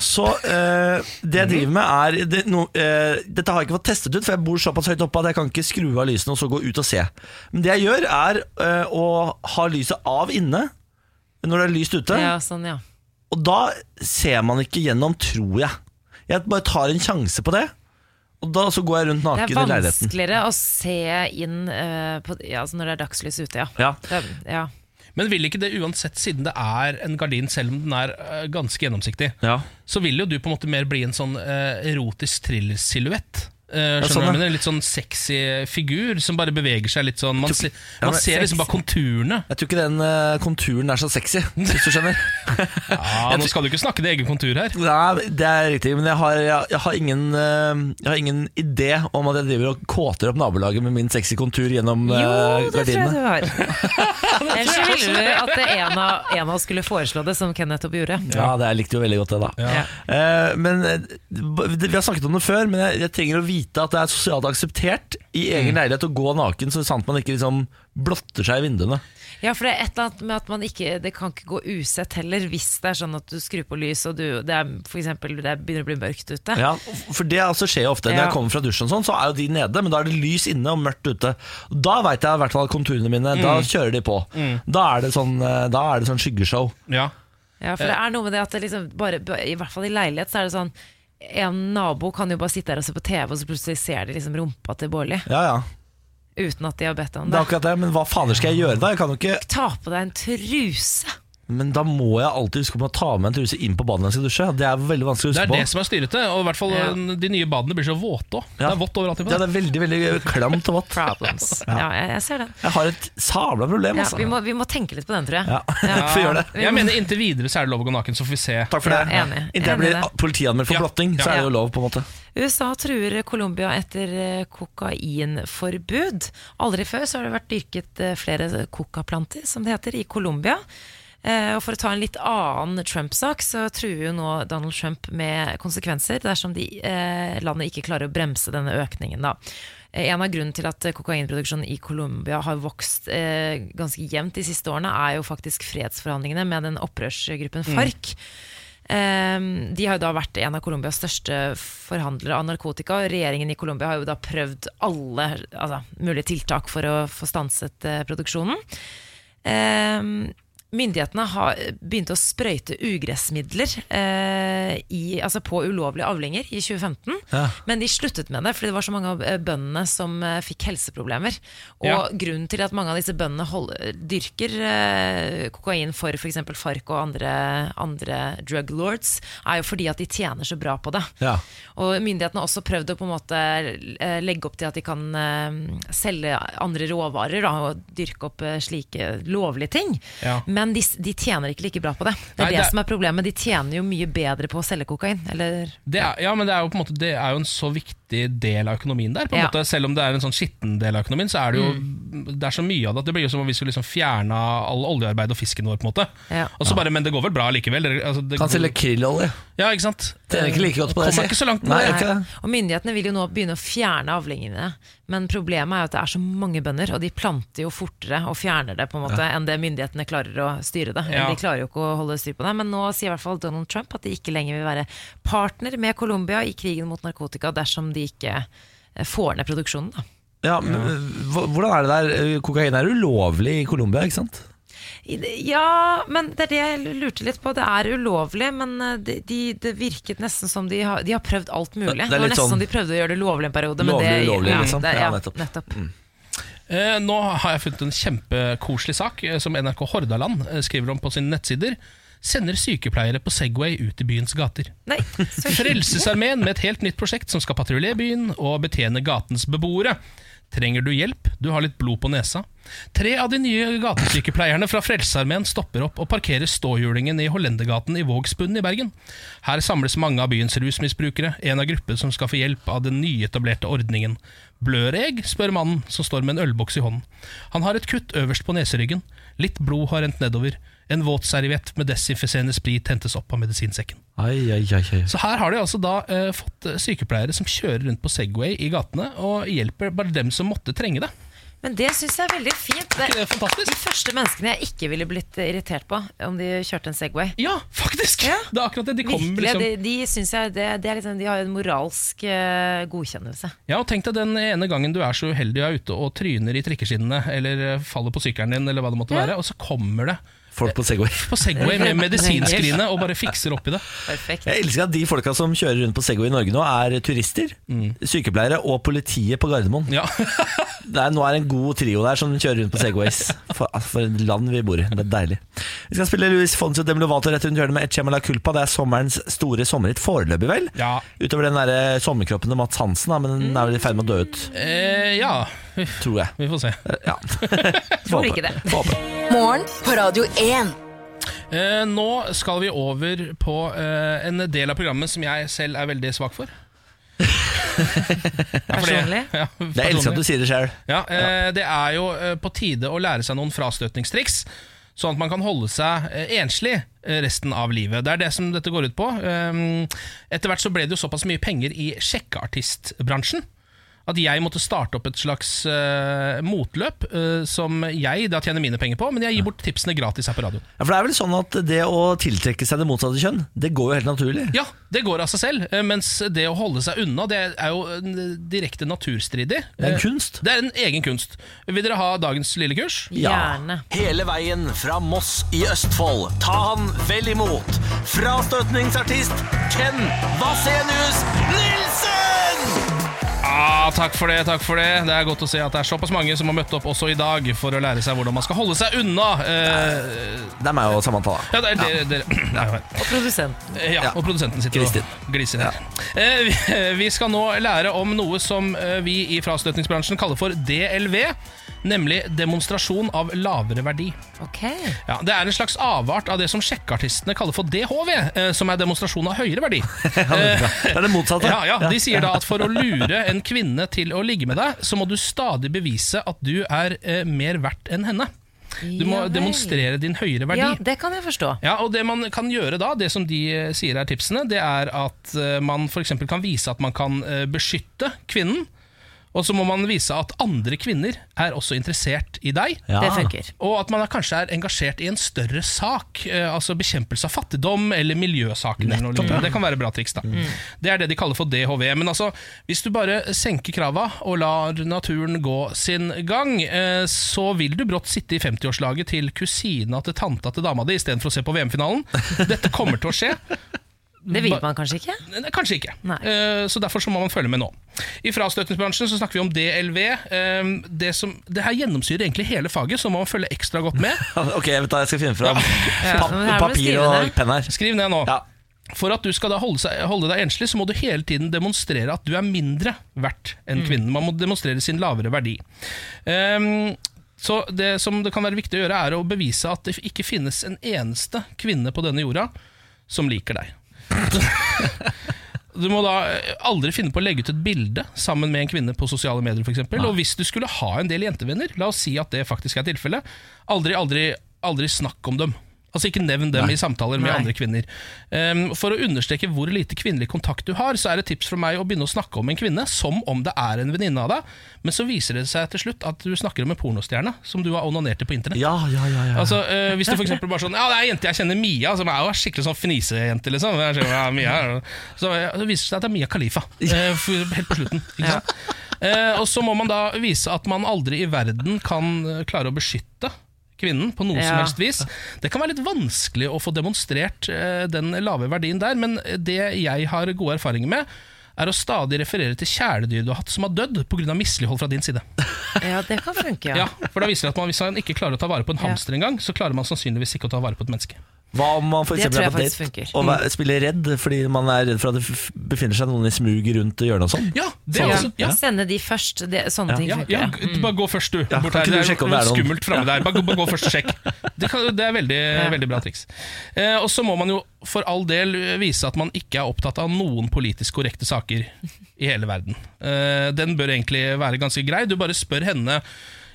S1: Så eh, det jeg driver med er det, no, eh, Dette har jeg ikke fått testet ut, for jeg bor såpass høyt oppe at jeg kan ikke skru av lysene og så gå ut og se. Men det jeg gjør, er eh, å ha lyset av inne når det er lyst ute.
S2: Ja, sånn, ja.
S1: Og da ser man ikke gjennom, tror jeg. Jeg bare tar en sjanse på det, og da så går jeg rundt
S2: Det
S1: naken
S2: er
S1: i leiligheten.
S2: vanskeligere å se inn eh, på, ja, altså når det er dagslys ute, ja.
S1: Ja.
S2: Det, er- ja.
S3: Men vil ikke det uansett, siden det er en gardin, selv om den er eh, ganske gjennomsiktig,
S1: Ja.
S3: så vil jo du på en måte mer bli en sånn eh, erotisk thriller-silhuett. Eh,
S1: Ja,
S3: skjønner du hva
S1: sånn,
S3: jeg mener? En litt sånn sexy figur som bare beveger seg litt sånn. Man, se,
S1: Ja,
S3: man
S1: men-
S3: ser liksom bare konturene.
S1: Jeg tror ikke den eh, konturen er så sexy, hvis du skjønner.
S3: Ja, nå skal du ikke snakke din egen kontur her.
S1: Nei, det er riktig, men jeg har, jeg, jeg, har ingen, eh, jeg har ingen idé om at jeg driver og kåter opp nabolaget med min sexy kontur gjennom eh,
S2: Jo, det tror jeg du
S1: gardinene.
S2: har. Ellers så ville du at det en av, en av oss skulle foreslå det, som Kenneth opp gjorde.
S1: Ja, det jeg likte jo veldig godt det, da.
S2: Ja.
S1: Eh, men eh, det- Vi har snakket om det før, men jeg, jeg trenger å vite at det er sosialt akseptert i
S2: Mm.
S1: egen leilighet å gå naken, så sant man ikke liksom blotter seg i vinduene.
S2: Ja, for det er et eller annet med at man ikke Det kan ikke gå usett heller, hvis det er sånn at du skrur på lys og du, det er for eksempel det er- begynner å bli mørkt ute.
S1: Ja, For det altså skjer jo ofte. Når
S2: Ja.
S1: jeg kommer fra dusjen, og sånn, så er jo de nede, men da er det lys inne og mørkt ute. Da veit jeg i hvert fall at konturene mine. Da
S2: Mm.
S1: kjører de på. Da er det sånn, eh, da er det sånn skyggeshow.
S3: Ja.
S2: Ja, for det
S1: Eh.
S2: er noe med det at det liksom bare, I hvert fall i leilighet så er det sånn En nabo kan jo bare sitte der og se på TV, og så plutselig ser de liksom rumpa til Bårli.
S1: Ja, ja
S2: Uten at de har bedt om
S1: Det
S2: det.
S1: er akkurat det, men hva fader skal jeg gjøre da? Jeg kan jo ikke
S2: Ta på deg en truse!
S1: Men da må jeg alltid huske på å ta med en truse inn på badet når jeg skal dusje. Det er veldig vanskelig å
S3: Det
S1: huske
S3: er det
S1: på.
S3: som er styrete. Og i hvert fall
S2: Ja.
S3: eh, de nye badene blir så våte òg. Det
S1: Ja.
S3: er vått overalt. i
S1: Ja, det
S3: badet.
S1: er veldig, veldig klamt og vått.
S2: Problems. Ja, jeg, jeg ser den.
S1: Jeg har et sabla problem,
S2: Ja,
S1: altså.
S2: vi, må, vi må tenke litt på den, tror jeg.
S1: Ja, Få gjøre det.
S2: vi
S3: Jeg
S2: må-
S3: mener Inntil videre så er det lov å gå naken, så får vi se.
S1: Takk for det.
S2: Ja, enig.
S1: Inntil jeg
S2: Enig i
S1: blir
S2: det.
S1: politianmeldt for
S3: Ja.
S1: blotting, så
S3: Ja.
S1: er det jo lov, på en måte.
S2: USA truer Colombia etter eh, kokainforbud. Aldri før så har det vært dyrket eh, flere kokaplanter, som det heter, i Colombia. Eh, Og for å ta en litt annen Trump-sak, så truer jo nå Donald Trump med konsekvenser dersom de, eh, landet ikke klarer å bremse denne økningen. Da. Eh, En av grunnen til at eh, kokainproduksjonen i Colombia har vokst eh, ganske jevnt de siste årene, er jo faktisk fredsforhandlingene med den opprørsgruppen FARC. Ehm, De har jo da vært en av Colombias største forhandlere av narkotika. og Regjeringen i Colombia har jo da prøvd alle altså, mulige tiltak for å få stanset eh, produksjonen. Ehm, Myndighetene har begynt å sprøyte ugressmidler eh, i, altså på ulovlige avlinger i 2015.
S1: Ja.
S2: Men de sluttet med det fordi det var så mange av eh, bøndene som eh, fikk helseproblemer. Og
S3: Ja.
S2: grunnen til at mange av disse bøndene hold, dyrker eh, kokain for f.eks. FARC og andre, andre drug lords, er jo fordi at de tjener så bra på det.
S1: Ja.
S2: Og myndighetene har også prøvd å på en måte eh, legge opp til at de kan eh, selge andre råvarer da, og dyrke opp eh, slike lovlige ting.
S3: Ja.
S2: Men de, s- de tjener ikke like bra på det. Det er
S3: Nei,
S2: det,
S3: det-
S2: som er problemet. De tjener jo mye bedre på å selge kokain. Eller
S3: Det er, ja, men det er, jo på en måte, det er jo en så viktig del av økonomien der. På en
S2: Ja. Mm.
S3: måte, selv om det er en sånn skitten del av økonomien, så er det jo Det er så mye av det at det blir jo som om vi skulle liksom fjerna all oljearbeid og fisken vår. på en måte
S2: Ja.
S3: Og så bare, Men det går vel bra likevel? Dere- Altså, det
S1: Kan
S3: går-
S1: selge krillolje.
S3: Ja, ikke sant?
S1: Tjener ikke like godt på det,
S3: Kommer ikke så langt
S1: Nei,
S3: med det.
S1: ikke det.
S2: Og myndighetene vil jo nå begynne å fjerne avlingene, men problemet er jo at det er så mange bønder, og de planter jo fortere og fjerner det på en måte enn det myndighetene klarer å styre det.
S3: Ja.
S2: De klarer jo ikke å holde styr på det. Men nå sier i hvert fall Donald Trump at de ikke lenger vil være partner med Colombia i krigen mot narkotika dersom de ikke eh, får ned produksjonen. Da.
S1: eh, Ja, men, hva- hvordan er det der? Kokain er ulovlig i Colombia, ikke sant?
S2: I det- Ja, men det er det jeg lurte litt på. Det er ulovlig, men eh, de, de, det virket nesten som de har, de har prøvd alt
S1: Det-
S2: mulig.
S1: det er
S2: Det, var
S1: litt
S2: nesten
S1: sånn-
S2: som de prøvde å gjøre det lovlig en periode. men
S1: Lovlig,
S2: det,
S1: ulovlig,
S2: ja,
S1: liksom.
S2: Det,
S1: Ja,
S2: ja,
S1: nettopp.
S2: nettopp.
S3: Eh, nå har jeg funnet en kjempekoselig sak eh, som NRK Hordaland eh, skriver om på sine nettsider. Sender sykepleiere på Segway ut i byens gater.
S2: Nei, så
S3: Frelsesarmeen med et helt nytt prosjekt som skal patruljere byen og betjene gatens beboere. Trenger du hjelp? Du har litt blod på nesa. Tre av de nye gatesykepleierne fra Frelsesarmeen stopper opp og parkerer ståhjulingen i Hollendergaten i Vågsbunnen i Bergen. Her samles mange av byens rusmisbrukere, en av gruppen som skal få hjelp av den nyetablerte ordningen. Blør jeg? spør mannen, som står med en ølboks i hånden. Han har et kutt øverst på neseryggen. Litt blod har rent nedover. En våt serviett med desinfiserende sprit hentes opp av medisinsekken.
S1: Ai, ai, ai, ai.
S3: Så her har de altså da eh, fått eh, sykepleiere som kjører rundt på Segway i gatene og hjelper bare dem som måtte trenge det.
S2: Men det syns jeg er veldig fint.
S3: Er ikke det
S2: de
S3: fantastisk?
S2: første menneskene jeg ikke ville blitt irritert på om de kjørte en Segway.
S3: Ja, faktisk!
S2: Ja.
S3: Det er akkurat det. De kommer
S2: Virkelig,
S3: liksom
S2: de, de synes jeg det, det er liksom, De har en moralsk eh, godkjennelse.
S3: Ja, og Tenk deg den ene gangen du er så uheldig og er ute og tryner i trikkeskinnene eller eh, faller på sykkelen din, eller hva det måtte være, og så kommer det
S1: Folk på Segway.
S3: på Segway med medisinskrinet og bare fikser opp i det.
S2: Perfekt.
S1: Jeg elsker at de folka som kjører rundt på Segway i Norge nå, er turister, sykepleiere og politiet på Gardermoen.
S3: Ja.
S1: Det er, nå er det en god trio der som kjører rundt på Segways. For, ah, for et land vi bor i. Det er deilig. Vi skal spille Luis Fonsi og Demi Lovato rett rundt hjørnet med Echema la Culpa. Det er sommerens store sommerhit foreløpig, vel?
S3: Ja.
S1: Utover den der eh, sommerkroppen til Mats Hansen, da, men den er vel i ferd med å dø ut,
S3: Eh, ja,
S1: tror jeg.
S3: vi får se.
S1: Ja.
S2: Tror ikke det.
S1: Får håpe.
S4: Morgen på Radio 1.
S3: Eh, nå skal vi over på eh, en del av programmet som jeg selv er veldig svak for. Ja, for
S2: Personlig?
S3: Ja,
S1: Det er elsker at du sier det sjøl.
S3: Ja, eh, Det er jo eh, på tide å lære seg noen frastøtningstriks, sånn at man kan holde seg eh, enslig eh, resten av livet. Det er det som dette går ut på. Um, Etter hvert så ble det jo såpass mye penger i sjekkeartistbransjen. At jeg måtte starte opp et slags eh, motløp eh, som jeg da tjener mine penger på, men jeg gir bort tipsene gratis her på radioen.
S1: Ja, for det er vel sånn at det å tiltrekke seg det motsatte kjønn, det går jo helt naturlig.
S3: Ja, det går av seg selv, eh, mens det å holde seg unna, det er jo eh, direkte naturstridig. Eh,
S1: Det er en kunst.
S3: Det er en egen kunst. Vil dere ha dagens lille kurs?
S1: Ja.
S2: Gjerne.
S6: Hele veien fra Moss i Østfold. Ta han vel imot. Frastøtningsartist Ken Vasenius Nilsen!
S3: Ah, takk for det, takk for det. Det er godt å se at det er såpass mange som har møtt opp også i dag for å lære seg hvordan man skal holde seg unna. Eh,
S1: Det er meg og Samantha, da.
S3: ja, det er dere, dere. Nei, nei.
S2: Og produsenten.
S3: Ja, og produsenten sitter
S1: Kristin.
S3: og gliser her. Eh, vi, vi skal nå lære om noe som eh, vi i frastøtningsbransjen kaller for DLV, nemlig demonstrasjon av lavere verdi.
S2: Ok.
S3: Ja, Det er en slags avart av det som sjekkeartistene kaller for DHV, eh, som er demonstrasjon av høyere verdi. Eh,
S1: Det er det motsatte.
S3: Ja, ja, De sier da at for å lure en kvinne til å ligge med deg, så må du stadig bevise at du er eh, mer verdt enn henne. Du må
S2: Ja vel.
S3: demonstrere din høyere verdi.
S2: Ja, det kan jeg forstå.
S3: Ja, og Det man kan gjøre da, det som de eh, sier er tipsene, det er at eh, man f.eks. kan vise at man kan eh, beskytte kvinnen. Og så må man vise at andre kvinner er også interessert i deg.
S1: Ja.
S2: Det funker.
S3: Og at man er, kanskje er engasjert i en større sak, eh, altså bekjempelse av fattigdom eller miljøsaken. Eller noe lignende. det kan være bra triks. da. Det er det de kaller for DHV. Men altså, hvis du bare senker krava og lar naturen gå sin gang, eh, så vil du brått sitte i 50-årslaget til kusina til tanta til dama di istedenfor å se på VM-finalen. Dette kommer til å skje.
S2: Det vil man kanskje ikke?
S3: Nei, Kanskje ikke.
S2: Nei.
S3: Eh, Så Derfor så må man følge med nå. I frastøtningsbransjen så snakker vi om DLV. Eh, Det, som, det her gjennomsyrer egentlig hele faget, så må man følge ekstra godt med.
S1: Ok, jeg vet da, jeg skal finne fram
S2: Ja, men her
S1: pap
S2: må du
S1: papir
S2: skrive
S1: og
S2: det.
S1: penn her.
S3: Skriv ned nå.
S1: Ja.
S3: For at du skal da holde, seg, holde deg enslig, så må du hele tiden demonstrere at du er mindre verdt
S2: Mm.
S3: enn kvinnen. Man må demonstrere sin lavere verdi. Ehm, så det som det kan være viktig å gjøre, er å bevise at det ikke finnes en eneste kvinne på denne jorda som liker deg. Du må da aldri finne på å legge ut et bilde sammen med en kvinne på sosiale medier. For eksempel. og hvis du skulle ha en del jentevenner, la oss si at det faktisk er tilfellet, aldri, aldri, aldri snakk om dem. Altså Ikke nevn dem i samtaler med
S2: Nei.
S3: andre kvinner. Ehm, for å understreke hvor lite kvinnelig kontakt du har, så er det tips fra meg å begynne å snakke om en kvinne som om det er en venninne av deg, men så viser det seg til slutt at du snakker om en pornostjerne som du har onanert til på internett.
S1: Ja, ja, ja, ja.
S3: Altså, eh, hvis du for eksempel bare sånn Ja, det er ei jente jeg kjenner, Mia, som er jo skikkelig sånn fnisejente, liksom. Jeg skjønner, ja, Mia, er- så, eh, så viser det seg at det er Mia Khalifa, eh, for- helt på slutten. Ikke sant? Eh, og så må man da vise at man aldri i verden kan eh, klare å beskytte kvinnen på noe
S2: Ja.
S3: som helst vis. Det kan være litt vanskelig å få demonstrert eh, den lave verdien der, men det jeg har gode erfaringer med, er å stadig referere til kjæledyr du har hatt som har dødd pga. mislighold fra din side.
S2: Ja, det kan funke, ja.
S3: Ja, for da viser det at man, Hvis man ikke klarer å ta vare på en
S2: Ja.
S3: hamster engang, så klarer man sannsynligvis ikke å ta vare på et menneske.
S1: Hva om man for
S2: Det
S1: eksempel
S2: tror
S1: er
S2: jeg
S1: på
S2: faktisk
S1: date
S2: funker.
S1: og vær- spiller redd fordi man er redd for at det f- befinner seg noen i smuget rundt hjørnet og sånn?
S3: Ja, det er
S2: Ja.
S3: også, ja.
S2: Sende de først. Det, sånne ting
S3: Ja,
S2: funker.
S3: ja,
S2: ja.
S3: g- bare gå først, du.
S1: Mm. Ja,
S3: Bort
S1: kan
S3: her.
S1: ikke du
S3: Det er
S1: sjekke om det er noen-
S3: skummelt framme der. Bare, gå- bare gå først og sjekk. Det, kan, det er veldig,
S2: Ja.
S3: veldig bra triks. Eh, og så må man jo for all del vise at man ikke er opptatt av noen politisk korrekte saker i hele verden. Eh, den bør egentlig være ganske grei. Du bare spør henne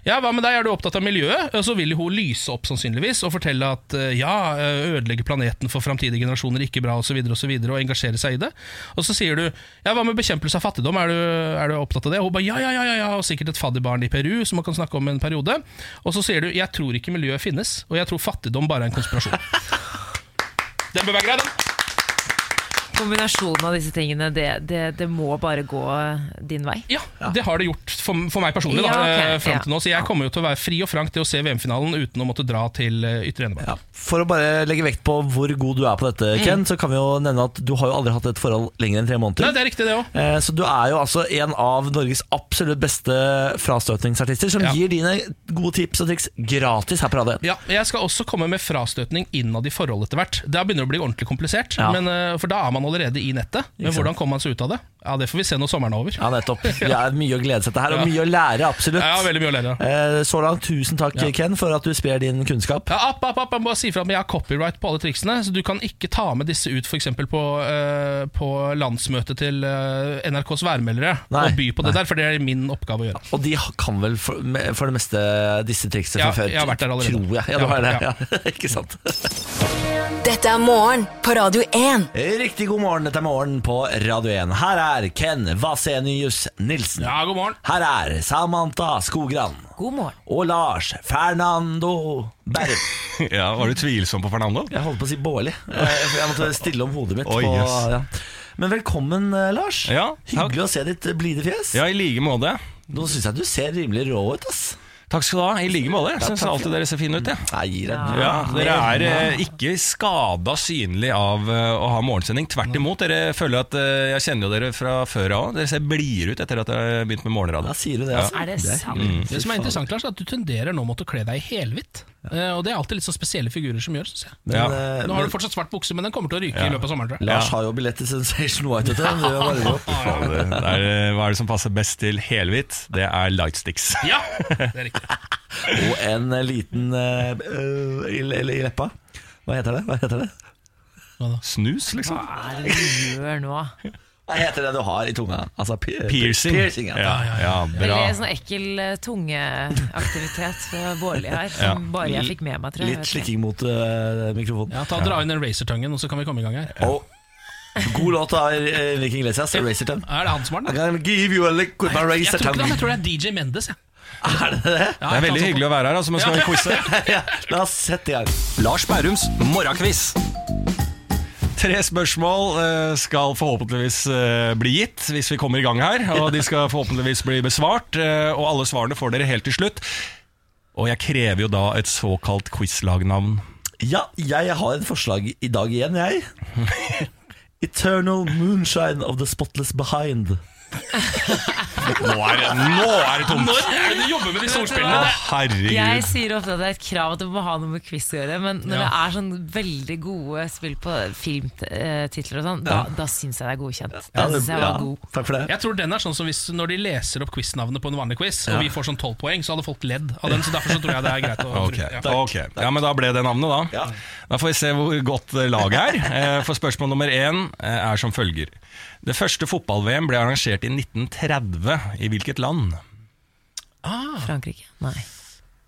S3: ja, hva med deg, er du opptatt av miljøet? Og så vil jo hun lyse opp sannsynligvis og fortelle at eh, ja, ødelegge planeten for framtidige generasjoner ikke bra, osv., og, så videre, og engasjere seg i det. Og så sier du ja, hva med bekjempelse av fattigdom, er du, er du opptatt av det? Og hun bare ja, ja, ja, ja, ja, og sikkert et fadderbarn i Peru som man kan snakke om en periode. Og så sier du jeg tror ikke miljøet finnes, og jeg tror fattigdom bare er en konspirasjon. Den bør være grei, den.
S2: Kombinasjonen av disse tingene, det, det, det må bare gå din vei.
S3: Ja, det har det gjort for, for meg personlig, da,
S2: Ja, ok,
S3: eh, fram til
S2: ja.
S3: nå. Så jeg kommer jo til å være fri og frank til å se VM-finalen uten å måtte dra til eh, ytre Enebakk.
S1: Ja. For å bare legge vekt på hvor god du er på
S2: Mm.
S1: dette, Ken, så kan vi jo nevne at du har jo aldri hatt et forhold lenger enn tre måneder.
S3: Nei, det er riktig, det òg.
S1: Eh, Så du er jo altså en av Norges absolutt beste frastøtningsartister, som
S3: Ja.
S1: gir dine gode tips og triks gratis her på Radio 1.
S3: Ja, Jeg skal også komme med frastøtning innad i forholdet etter hvert. Da begynner det å bli ordentlig komplisert,
S1: Ja.
S3: men, eh, for da er man allerede i nettet. Men
S1: Ikke sant.
S3: hvordan kommer man seg ut av det? Ja, Det får vi se når sommeren er over.
S1: Ja, nettopp. Det er mye å glede seg til her, og
S3: Ja.
S1: mye å lære, absolutt.
S3: Ja, veldig mye å lære. da.
S1: Eh, Så langt, tusen takk,
S3: Ja.
S1: Ken, for at du sprer din kunnskap.
S3: Ja, app, app, app, Jeg må bare si fra at jeg har copyright på alle triksene, så du kan ikke ta med disse ut f.eks. På, eh, på landsmøtet til eh, NRKs værmeldere
S1: Nei,
S3: og by på det der, for det er min oppgave å gjøre.
S1: Og de kan vel for, me- for det meste disse triksene
S3: Ja,
S1: fra før?
S3: jeg har vært der allerede.
S1: Tror jeg. Ja, du
S3: Ja,
S1: har det.
S3: ja.
S1: Ja. Ikke sant?
S4: Dette er morgen på Radio 1.
S1: Riktig god morgen, dette er Morgen på Radio 1. Her er Ken Vasenius Nilsen.
S3: Ja, god morgen.
S1: Her er Samantha Skogran.
S2: God morgen.
S1: Og Lars Fernando Berrum.
S7: Ja, Var du tvilsom på Fernando?
S1: Jeg holdt på å si Bårli. Eh, for Jeg måtte stille om hodet mitt.
S7: Oi,
S1: på,
S7: yes.
S1: ja. Men velkommen, eh, Lars.
S7: Ja, takk.
S1: Hyggelig å se ditt eh, blide fjes.
S7: Ja, i like måte.
S1: Nå syns jeg du ser rimelig rå ut. ass
S7: Takk skal du ha. I like måte. Jeg syns
S1: takk.
S7: alltid dere ser fine ut. jeg.
S1: Nei, gir deg.
S7: Ja, Dere er eh, ikke skada synlig av eh, å ha morgensending. Tvert imot. dere føler at eh, Jeg kjenner jo dere fra før av òg. Dere ser blidere ut etter at dere har begynt med
S1: Da
S7: morgenradio.
S1: sier du det, altså.
S2: Er det sant?
S7: Mm.
S3: Det som er interessant, Lars, er at du tenderer nå mot å kle deg i helhvitt. Eh, Og det er alltid litt sånn spesielle figurer som gjør, syns jeg.
S1: Men,
S7: Ja.
S1: eh,
S3: Nå har du fortsatt svart bukse, men den kommer til å ryke i løpet av sommeren, tror jeg.
S1: Lars har jo billett til Sensation White. Vet du. men det var bare-
S7: Fader, det er, eh, Hva er det som passer best til helhvitt? Det er lightsticks.
S3: Ja, det er riktig.
S1: Og en eh, liten eh, øh, i, i, i leppa. Hva heter det? Hva heter det
S7: Snus, liksom.
S2: Hva er det du gjør nå?
S1: Hva heter det du har i tunga? Altså, pi-
S7: Piercing.
S1: piercing ja.
S7: ja, ja, bra.
S2: Veldig sånn ekkel eh, tungeaktivitet fra Bårli her, som bare jeg fikk med meg, tror jeg.
S1: Litt
S2: jeg. vet ikke.
S1: slikking mot eh, mikrofonen.
S3: Ja, ta Dra inn den racertangen, og så kan vi komme i gang her.
S1: Og god låt av Enrique Iglesias, Racer Tongue.
S3: Er det han som
S1: I
S3: har
S1: can
S3: den?
S1: give you a lick with my
S3: Jeg
S1: racer
S3: tror
S1: tongue.
S3: ikke det, er han, jeg tror det er DJ Mendes. Jeg.
S1: Er det det?
S3: Ja,
S7: Det er veldig hyggelig å være her, altså, men skal vi quize?
S1: Ja, la oss sette i gang.
S6: Lars Bærums morgenkviss.
S7: Tre spørsmål eh, skal forhåpentligvis eh, bli gitt hvis vi kommer i gang her. Og de skal forhåpentligvis bli besvart, eh, og alle svarene får dere helt til slutt. Og jeg krever jo da et såkalt quizlagnavn.
S1: Ja, jeg har et forslag i dag igjen, jeg. Eternal moonshine of the spotless behind.
S7: Nå er det, nå er det tomt!
S3: Når er det du jobber med disse ordspillene?
S7: Å,
S2: Jeg
S7: herregud.
S2: sier ofte at det er et krav at du må ha noe med quiz å gjøre, men når det
S3: Ja.
S2: er sånn veldig gode spill på filmtitler og sånn, da, da syns jeg det er godkjent. Da
S1: Ja, det-
S2: syns jeg var
S1: ja,
S2: god.
S1: Takk for det.
S3: Jeg tror den er sånn som hvis Når de leser opp quiznavnet på en vanlig quiz, og vi får sånn 12 poeng, så hadde folk ledd av den. Så derfor så tror jeg det er greit å
S7: Ok,
S3: bruke. Ja.
S7: ok. Ja, men da ble det navnet, da.
S1: Ja.
S7: Da får vi se hvor godt eh, laget er. Eh, For spørsmål nummer én eh, er som følger. Det første fotball-VM ble arrangert i 1930. I hvilket land?
S2: Frankrike? Nei.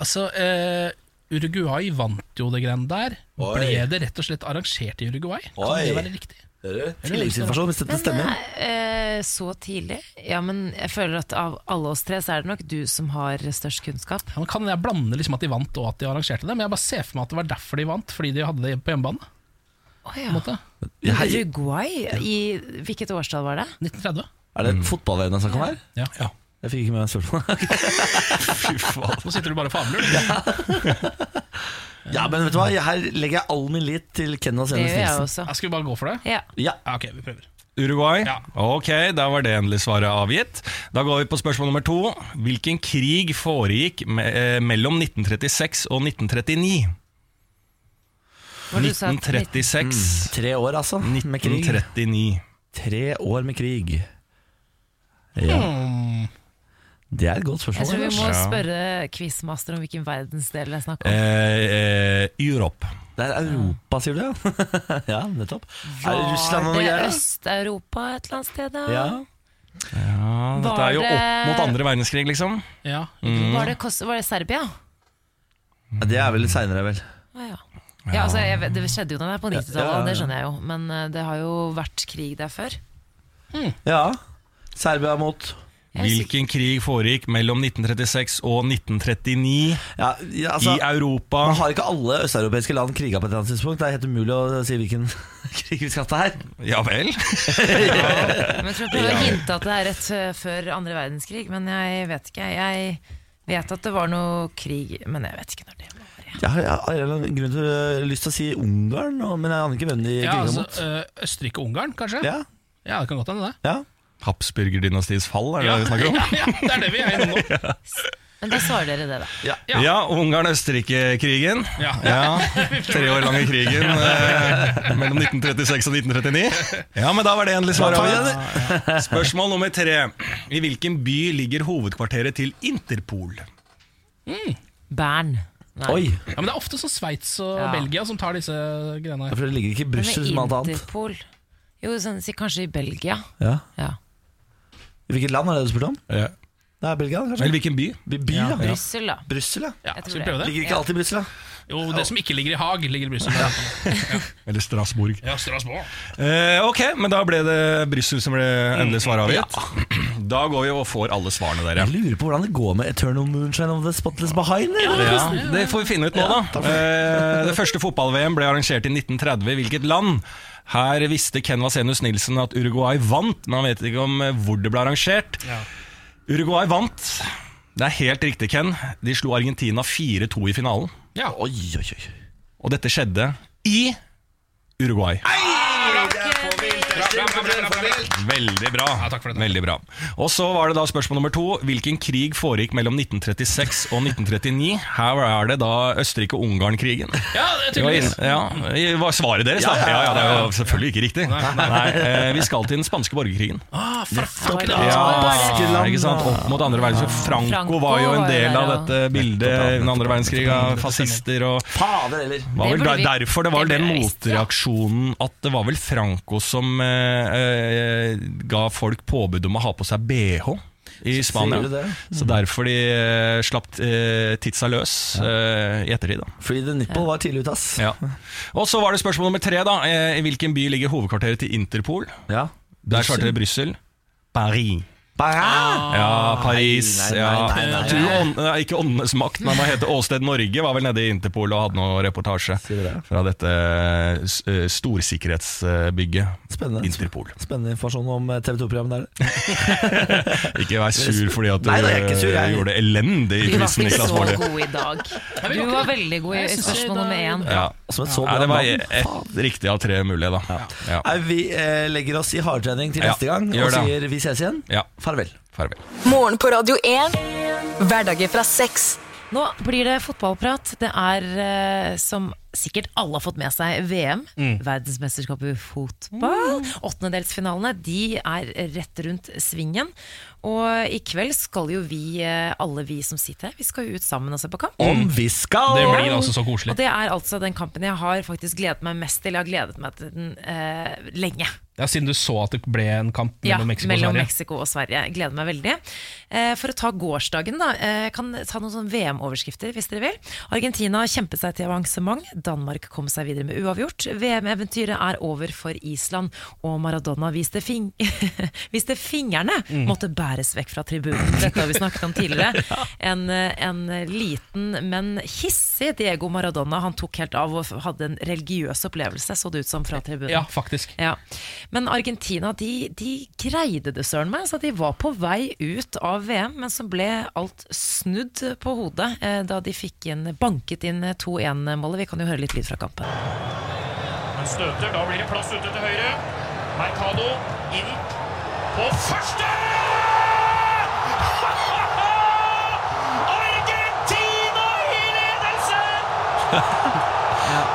S3: Altså, eh, Uruguay vant jo det greiene der. Ble det rett og slett arrangert i Uruguay? Kan
S1: Oi.
S3: det være riktig?
S1: Hører du? Tilleggsinformasjon, hvis dette stemmer.
S2: Eh, så tidlig? Ja, men jeg føler at av alle oss tre, så er det nok du som har størst kunnskap.
S3: Ja, men kan jeg blande liksom at de vant og at de arrangerte det? Men jeg bare ser for meg at det var derfor de vant, fordi de hadde det på hjemmebane.
S2: Oh,
S3: på en måte.
S1: Hei,
S2: Uruguay? I hvilket årstall var det?
S3: 1930.
S1: er det fotball-VM det er snakk om her?
S3: Ja.
S1: Jeg fikk ikke med meg spørsmålet.
S7: Fy faen.
S3: Nå sitter du bare og famler. du.
S1: Ja, men vet du hva? Her legger jeg all min lit til Kennas
S2: Det
S1: Enes
S2: gjør jeg
S1: Nilsen.
S2: også.
S3: Jeg Skal vi bare gå for det?
S2: Ja.
S1: Ja.
S3: Ja, ok, vi prøver.
S7: Uruguay?
S3: Ja.
S7: Ok, da var det endelig svaret avgitt. Da går vi på spørsmål nummer to. Hvilken krig foregikk me eh, mellom 1936 og 1939?
S2: Hva du sa,
S7: 1936,
S1: Tre år, altså. Med krig.
S7: 1939.
S1: Tre år med krig. Ja. Det er et godt spørsmål.
S2: Hm. Jeg tror vi må
S7: Ja.
S2: spørre quizmaster om hvilken verdensdel det er snakk
S7: Eh,
S2: om.
S7: eh, Europe.
S1: Det er Europa, sier du? Ja, ja nettopp. Er det Russland og noe
S2: det
S1: greier? da?
S2: Øst-Europa et eller annet sted, da?
S1: Ja.
S7: Ja, dette
S2: Var
S7: er jo
S2: det-
S7: opp mot andre verdenskrig, liksom.
S3: Ja.
S2: Var, Mm,
S1: Mm.
S2: det, Kos- var det Serbia?
S1: Ja, Det er vel litt seinere, vel.
S2: Å, ja. Ja, altså, jeg, vet- det skjedde jo noe der på 90-tallet,
S1: Ja, ja, ja.
S2: det skjønner jeg jo. Men eh, det har jo vært krig der før.
S1: Ja. Serbia mot
S2: Jeg er
S7: Hvilken krig foregikk mellom 1936 og 1939
S1: Ja, ja altså
S7: i Europa?
S1: Man har ikke alle østeuropeiske land kriga på et eller annet tidspunkt. Det er helt umulig å si hvilken krig vi skal ta her.
S7: Ja vel?
S2: sikker- Men jeg tror jeg prøver å hinte at det er rett eh, før andre verdenskrig, men jeg vet ikke. Jeg vet at det var noe krig, men jeg vet ikke når det var. Ja.
S1: Jeg har, jeg har en eller annen grunn til øh, lyst til å si Ungarn, og- men jeg aner ikke hvem de
S3: ja
S1: kriga
S3: altså,
S1: mot.
S3: eh, Østerrike-Ungarn, kanskje?
S1: Ja,
S3: Ja, det kan godt hende, det.
S1: ja.
S7: Habsburgerdynastiets fall, er det det vi snakker om?
S3: ja, ja, det er det vi er innom nå.
S2: Men da svarer dere det, da.
S7: Ja, Ungarn-Østerrike-krigen.
S3: Ja.
S7: Ja, Tre år lange krigen eh, mellom 1936 og 1939. Ja, men da var det endelig svaret.
S1: Da tar vi
S7: avgitt. Spørsmål nummer tre. I hvilken by ligger hovedkvarteret til Interpol?
S2: Bern. Nei.
S1: Oi!
S3: ja, Men det er ofte sånn Sveits og
S2: Ja.
S3: Belgia som tar disse greiene
S1: Ja,
S3: her.
S1: For det ligger ikke i
S2: Men
S1: Brussel som alt annet.
S2: Interpol Jo, sånn, si kanskje i Belgia.
S1: Ja.
S2: Ja.
S1: Hvilket land er det du spurte om?
S7: Ja.
S1: Det er Belgia, kanskje?
S7: Eller hvilken by?
S1: By, by ja.
S2: Brussel, da.
S1: Brussel, ja.
S3: Ja,
S2: Jeg tror
S3: skal vi
S2: det.
S3: prøve det?
S1: Ligger ikke alltid i Brussel, da.
S3: Jo, det som ikke ligger i Haag, ligger i Brussel.
S7: Eller Strasbourg.
S3: Ja, Strasbourg.
S7: Eh, ok, men da ble det Brussel som ble endelig svaret avgitt. Da går vi og får alle svarene, dere.
S1: Jeg lurer på hvordan det går med Eternal Moonshine of the Spotless Behind. eller?
S7: Ja, det får vi finne ut nå, da. Eh, Det første fotball-VM ble arrangert i 1930. i Hvilket land? Her visste Ken Vasenus Nilsen at Uruguay vant, men han vet ikke om eh, hvor det ble arrangert.
S3: Ja.
S7: Uruguay vant. Det er helt riktig, Ken. De slo Argentina 4-2 i finalen.
S3: Ja.
S1: Oi, oi, oi.
S7: Og dette skjedde i Uruguay. Veldig bra.
S3: Ja, takk for det.
S7: Veldig bra. Og så var det da spørsmål nummer to. Hvilken krig foregikk mellom 1936 og 1939? Her er det da Østerrike-Ungarn-krigen.
S3: Ja, det er
S7: Det var
S3: tydeligvis.
S7: inn- Ja, i- var svaret deres, da? Ja, ja, det er jo selvfølgelig ikke riktig.
S3: Nei, nei.
S7: Nei, eh, vi skal til den spanske borgerkrigen.
S3: Ah, for
S2: Var
S3: fuck
S2: det-
S3: det.
S7: Ja,
S1: Baskeland,
S7: ikke sant?
S1: da.
S7: Opp mot andre verdenskrig. Franco
S2: Franco
S7: var jo en
S2: var jo
S7: del av
S2: der,
S7: dette bildet under andre verdenskrig av fascister og
S1: Fader, eller?
S7: var
S2: Det
S7: vel
S2: burde
S7: der,
S2: vi-
S7: derfor det var
S2: det
S7: den
S2: burde vi visst, ja.
S7: motreaksjonen at det var vel Franco som eh, eh, ga folk påbud om å ha på seg BH i Spania.
S1: du det?
S7: Så derfor de eh, slapp eh, tidsa løs eh, i ettertid. Da.
S1: Free the nipple var tidlig ute, ass.
S7: Ja. Og så var det spørsmål nummer tre. da eh, I hvilken by ligger hovedkvarteret til Interpol?
S1: Ja.
S7: Der starter det Brussel. Paris. Ah.
S1: Bare-
S7: Ja,
S1: Ah,
S7: Paris.
S1: Nei, nei,
S7: ja.
S1: nei, nei, nei.
S7: Jeg tror ånd- nei, ikke Åndenes makt, men hva heter Åsted Norge? Var vel nede i Interpol og hadde noe reportasje
S1: Sier du det?
S7: fra dette eh, s- eh, storsikkerhetsbygget.
S1: Spennende.
S7: Interpol.
S1: Spennende informasjon om eh, TV 2-programmet der.
S7: Ikke vær sur fordi at du
S1: Nei, nei, jeg er ikke sur, jeg.
S7: eh, gjorde det elendig i
S2: Vi var
S7: quizen,
S2: ikke
S7: Niklas
S2: så
S7: Baarli.
S2: gode i dag. Du var veldig god i
S3: Jeg synes
S2: spørsmål
S3: det-
S2: nummer én.
S7: Ja.
S1: Som et så
S7: Nei,
S1: bra
S7: det var
S1: navn.
S7: ett riktig av tre mulige, da. Ja.
S1: Nei, vi eh, legger oss i hardtrening til
S7: Ja,
S1: neste gang
S7: gjør
S1: og
S7: det.
S1: sier vi ses igjen.
S7: Ja. Mm.
S1: Farvel.
S7: Farvel.
S4: Morgen på Radio 1. Hverdager fra seks.
S2: Nå blir det fotballprat. Det er, eh, som sikkert alle har fått med seg, VM. Verdensmesterskapet i fotball. Åttendedelsfinalene de er rett rundt svingen. Og i kveld skal jo vi, eh, alle vi som sitter her, vi skal jo ut sammen og se på kamp.
S1: Om vi skal!
S3: Det blir altså så koselig.
S2: Og det er altså den kampen jeg har faktisk gledet meg mest til. Jeg har gledet meg til den eh, lenge.
S3: Ja, Siden du så at det ble en kamp
S2: Ja,
S3: mellom Mexico og
S2: mellom
S3: Sverige.
S2: Mexico og Sverige. Jeg gleder meg veldig. Eh, for å ta sånn gårsdagen, da. eh, Jeg kan ta noen sånne VM-overskrifter, hvis dere vil. Argentina kjempet seg til avansement. Danmark kom seg videre med uavgjort. VM-eventyret er over for Island, og Maradona viste, fing viste fingrene
S3: Mm.
S2: måtte bæres vekk fra tribunen. Dette har vi snakket om tidligere. En, eh, en liten, men hissig Diego Maradona. Han tok helt av og hadde en religiøs opplevelse, så det ut som, fra tribunen.
S3: Ja, faktisk.
S2: Ja. Men Argentina de, de greide det, søren meg. Så de var på vei ut av VM, men så ble alt snudd på hodet eh, da de fikk inn, banket inn 2-1-målet. Vi kan jo høre litt lyd fra kampen.
S8: Han støter, da blir det plass ute til høyre. Mercado inn på første! Argentina i ledelse!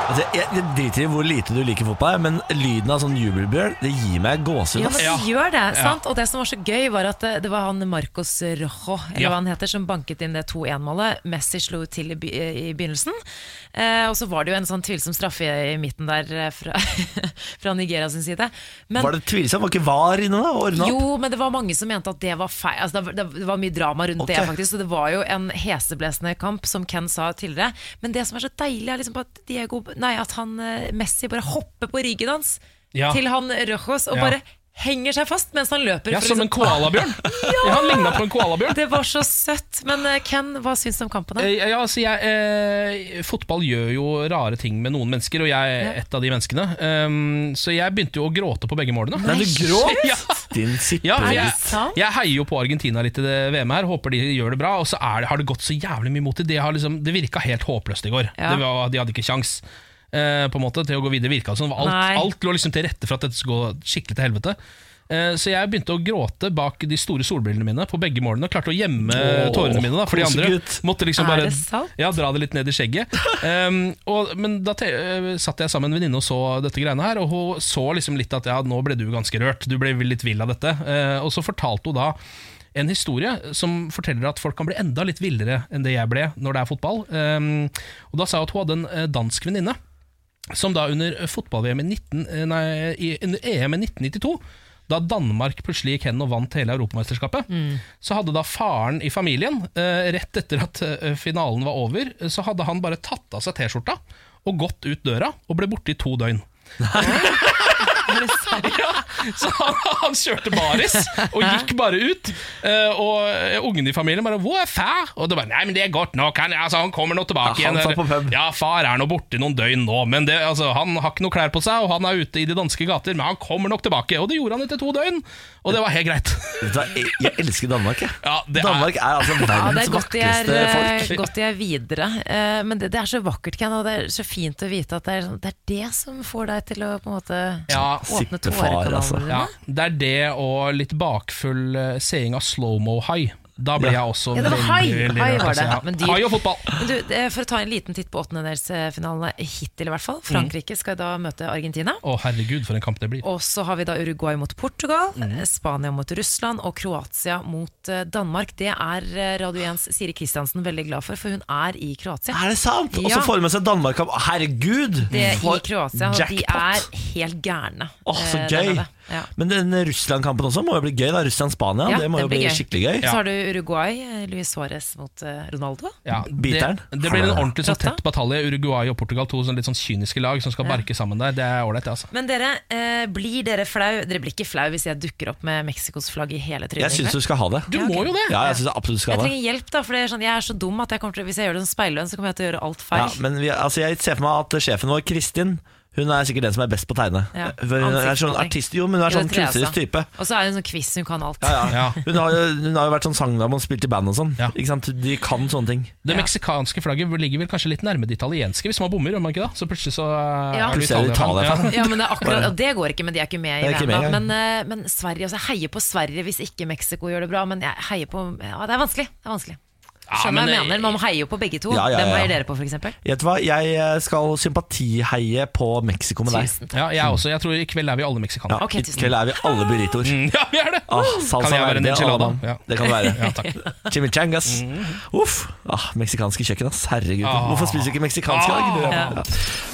S1: Altså, jeg, jeg driter i hvor lite du liker fotball, men lyden av sånn jubelbrøl Det gir meg gåsehud.
S2: Ja,
S1: ass.
S2: men de gjør det, sant? Og det som var så gøy, var at eh, det, det var han Marcos Rojo, eller
S3: Ja.
S2: hva han heter, som banket inn det 2-1-målet. Messi slo til i, by i begynnelsen. Eh, og så var det jo en sånn tvilsom straffe i midten der eh, fra, fra Nigeria sin side. Men,
S1: Var det tvilsomt? Var ikke VAR inne da? og ordnet opp?
S2: Jo, men det var mange som mente at det var feil. Altså, det, var- det var mye drama rundt det,
S1: Ok.
S2: faktisk. Så det var jo en heseblesende kamp, som Ken sa tidligere. Men det som er så deilig, er liksom at, Diego, nei, at han, eh, Messi bare hopper på ryggen hans
S3: Ja.
S2: til han Rojos og
S3: Ja.
S2: bare henger seg fast mens han løper.
S3: Ja,
S2: for
S3: Som en
S2: liksom-
S3: koalabjørn. ja! Han ligna på en koalabjørn.
S2: det var så søtt. Men eh, Ken, hva syns du om kampen? da?
S3: Eh, Ja, altså jeg, eh, fotball gjør jo rare ting med noen mennesker, og jeg er et av de menneskene. Um, så jeg begynte jo å gråte på begge målene.
S1: Nei, du gråt!
S3: Ja.
S1: Din
S3: Ja,
S1: sippegutt.
S3: jeg,
S2: sant?
S3: jeg heier jo på Argentina litt i det VM her, håper de gjør det bra. Og så er det, har det gått så jævlig mye mot dem. Det, har liksom, det virka helt håpløst i går.
S2: Ja.
S3: Det var, de hadde ikke kjangs. eh, på en måte, til å gå videre virka det som. Alt,
S2: Nei.
S3: alt lå liksom til rette for at dette skulle gå skikkelig til helvete. Eh, Så jeg begynte å gråte bak de store solbrillene mine på begge målene. Og klarte å gjemme
S1: Åh,
S3: tårene mine. Da, for de andre
S1: kosegutt.
S3: måtte liksom
S2: Er
S3: bare
S2: det sant?
S3: ja, dra det litt ned i skjegget. Ehm, og, men da te, eh, satt jeg sammen med en venninne og så dette greiene her, og hun så liksom litt at ja, nå ble du ganske rørt, du ble litt vill av dette. Eh, og så fortalte hun da en historie som forteller at folk kan bli enda litt villere enn det jeg ble når det er fotball. Ehm, og da sa hun at hun hadde en eh, dansk venninne som da under fotball-VM i, 19, eh, nei, i under EM i 1992 da Danmark plutselig gikk hen og vant hele europamesterskapet, så hadde da faren i familien, eh, rett etter at eh, finalen var over, eh, så hadde han bare tatt av seg T-skjorta og gått ut døra og ble borte i to døgn. ja, så han, han kjørte baris og gikk bare ut. eh, Og ungene i familien bare 'Hvor er far?' Og det bare 'Nei, men det er godt nok. Han, altså, han kommer nå tilbake
S1: Ja, han
S3: igjen.'
S1: satt på pub.
S3: Ja, far er nå borte noen døgn nå, men det, altså, han har ikke noe klær på seg, og han er ute i de danske gater, men han kommer nok tilbake. Og det gjorde han etter to døgn, og det var helt greit.
S1: Vet du hva, Jeg, jeg elsker Danmark, jeg.
S3: Ja, det er-
S1: Danmark er altså
S2: Ja,
S1: verdens
S2: det er godt de er,
S1: vakreste folk.
S2: eh, godt de er videre. Eh, Men det, det er så vakkert, Ken, og det er så fint å vite at det er, sånn- det, er det som får deg til å på en måte
S3: Ja,
S2: åpne
S1: sittefar,
S2: tårekanalene
S1: altså.
S2: dine.
S3: Ja, det er det og litt bakfull eh, seing av slow-mo-hai. Da ble jeg også
S2: Ja, det var
S3: veldig,
S2: hai.
S3: veldig
S2: Hai
S3: rørt,
S2: var
S3: altså,
S2: det,
S3: ja.
S2: men dyr.
S3: Hai og fotball.
S2: Men du, eh, For å ta en liten titt på åttendedelsfinalene hittil, i hvert fall. Frankrike skal da møte Argentina.
S3: Å, herregud, for en kamp det blir.
S2: Og så har vi da Uruguay mot Portugal,
S1: Mm.
S2: eh, Spania mot Russland og Kroatia mot eh, Danmark. Det er eh, Radio 1s Siri Kristiansen veldig glad for, for hun er i Kroatia.
S1: Er det sant? Og
S2: Ja.
S1: så får de med seg Danmark opp. Herregud!
S2: det er i
S1: for
S2: Kroatia, og de er
S1: jackpot.
S2: helt gærne.
S1: Åh, så
S2: eh, der
S1: gøy!
S2: nede. Ja.
S1: Men den Russland-kampen også må jo bli gøy. da Russland-Spania,
S2: Ja,
S1: det må
S2: den
S1: jo bli
S2: blir gøy.
S1: skikkelig gøy.
S2: Så har du Uruguay, eh, Luis Suárez mot eh, Ronaldo.
S3: Ja,
S1: Biteren.
S3: Det, det blir en ordentlig sånn
S2: Rotta.
S3: tett batalje. Uruguay og Portugal, to sånn litt sånn kyniske lag som skal barke sammen der. Det er ålreit, det, altså.
S2: Men dere, eh, blir dere flau? Dere blir ikke flau hvis jeg dukker opp med Mexicos flagg i hele trynet?
S1: Jeg syns du
S2: egentlig?
S1: skal ha det.
S3: Du må jo det!
S1: Ja, jeg syns jeg absolutt du
S2: Jeg
S1: skal ha det.
S2: trenger hjelp, da, for det er sånn, jeg er så dum at jeg kommer til, hvis jeg gjør det som speillønn, så kommer jeg til å gjøre alt
S1: Ja,
S2: feil.
S1: men vi, altså, jeg ser for meg at sjefen vår, Kristin, hun er sikkert den som er best på å tegne.
S2: Ja,
S1: For hun er sånn
S2: ansiktsmaling.
S1: artist, jo, men hun er
S2: Jo,
S1: sånn
S2: det tror jeg
S1: kunstnerisk
S2: også.
S1: type.
S2: Og så er hun sånn quiz, hun kan alt.
S1: Ja, ja.
S3: Ja.
S1: Hun, har jo, hun har jo vært sånn sangdame og spilt i band og sånn.
S3: Ja.
S1: Ikke sant? De kan sånne ting.
S3: Det
S2: Ja.
S3: meksikanske flagget ligger vel kanskje litt nærme det italienske, hvis man bommer, gjør man ikke det? Så plutselig så eh,
S2: Ja.
S3: er du
S1: Plutselig er det
S3: Italia-fan.
S1: Italia-fan.
S2: Ja, men det, er akkurat, og det går ikke, men de er ikke med
S1: Det
S2: i
S1: er ikke med
S2: VM. da.
S1: engang.
S2: Men, eh, men Sverige altså, Jeg heier på Sverige hvis ikke Mexico gjør det bra, men jeg heier på Ja, det er vanskelig. Det er vanskelig.
S3: Ja,
S2: Skjønner hva
S3: men,
S2: jeg mener. Man heier jo på begge to.
S1: eh, Ja, ja, ja,
S2: Hvem
S1: ja.
S2: heier dere på, f.eks.?
S1: Vet du hva, jeg eh, skal sympatiheie på Mexico med deg.
S2: Tusen takk.
S3: Ja, jeg også. Jeg tror i kveld er vi alle
S1: Ja,
S3: meksikanere.
S2: Ok,
S1: I
S2: tusen
S1: kveld er vi alle burritoer.
S3: Ja, vi er det!
S1: Ah, salsa
S3: Mm. Kan jeg være en
S1: verde,
S3: enchilada?
S1: Alabama.
S3: Ja.
S1: Det kan det være.
S3: Ja, takk. Mm.
S1: Chimichangas. Uff. Ah, meksikanske kjøkken, ass. Herregud.
S3: Ah.
S1: Hvorfor spiser vi ikke meksikansk i dag? Ja.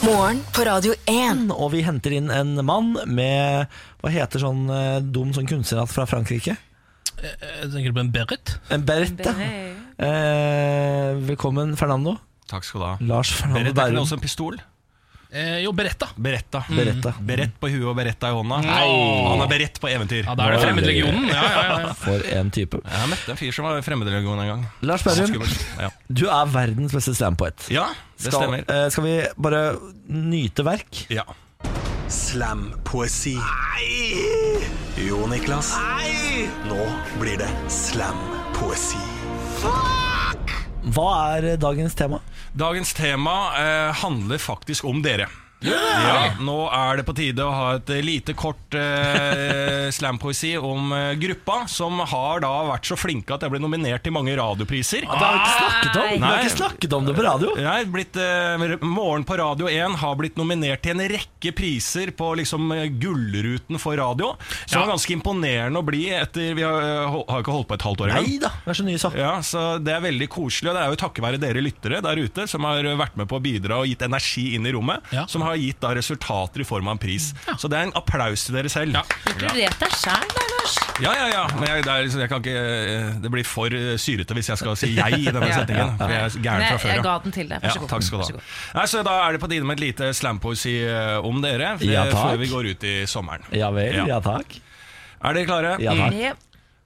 S4: Morgen på Radio 1.
S1: Og vi henter inn en mann med Hva heter sånn eh, dum sånn kunstnerhatt fra Frankrike?
S3: Jeg Tenker du på en Berit?
S1: En berette. Eh, velkommen, Fernando.
S7: Takk skal du ha.
S1: Lars Fernando
S7: Berit, er ikke det
S1: Bærum.
S7: også en pistol?
S3: Eh, jo, Beretta.
S7: Beretta.
S1: Beretta.
S7: Mm. Berett på huet og Beretta i hånda. Han er beredt på eventyr.
S3: Ja, Da er det Fremmedlegionen. Ja, ja, ja, ja.
S1: For en type.
S7: Jeg møtte en fyr som var fremmedlegion en gang.
S1: Lars Berrum,
S7: Skummelt. Ja.
S1: du er verdens beste slampoet.
S7: ja, det
S1: Skal,
S7: stemmer.
S1: eh, skal vi bare nyte verk?
S7: Ja.
S9: Slam-poesi. Jo, Niklas. Nå blir det slam-poesi.
S1: Hva er eh, dagens tema?
S7: Dagens tema eh, handler faktisk om dere. Ja, nå er det på tide å ha et eh, lite kort eh, slampoesi om eh, gruppa, som har da vært så flinke at jeg ble nominert til mange radiopriser.
S1: Det har vi ikke snakket om, vi har
S7: Nei.
S1: ikke snakket om det på radio.
S7: Nei, blitt, eh, Morgen på Radio 1 har blitt nominert til en rekke priser på liksom, eh, Gullruten for radio. Så det var ganske imponerende å bli etter Vi har, eh, hol- har ikke holdt på et halvt år
S1: Nei da, vær så ny, så.
S7: Ja, så Det er veldig koselig, og det er jo takket være dere lyttere der ute som har vært med på å bidra og gitt energi inn i rommet,
S3: Ja.
S7: som har gitt da resultater i form av en pris. Så det er en applaus til dere selv.
S3: Ja.
S2: Inkludert deg sjæl, da, Lars.
S7: Ja, ja, ja. Men jeg, det, er, liksom- jeg kan ikke, eh, det blir for eh, syrete hvis jeg skal si jeg i denne setningen. For jeg er
S2: Men
S7: gæren fra
S2: jeg,
S7: før.
S2: jeg
S7: ja.
S2: ga den til deg. Vær så god.
S7: Ja, takk skal du
S2: Vær så
S7: ha.
S2: god.
S7: Nei, så da er det på tide med et lite slampoesi eh, om dere, f-
S1: Ja, takk.
S7: før vi går ut i sommeren.
S1: Ja vel,
S7: Ja.
S1: ja takk.
S7: Er dere klare?
S1: Ja takk.
S2: Ja.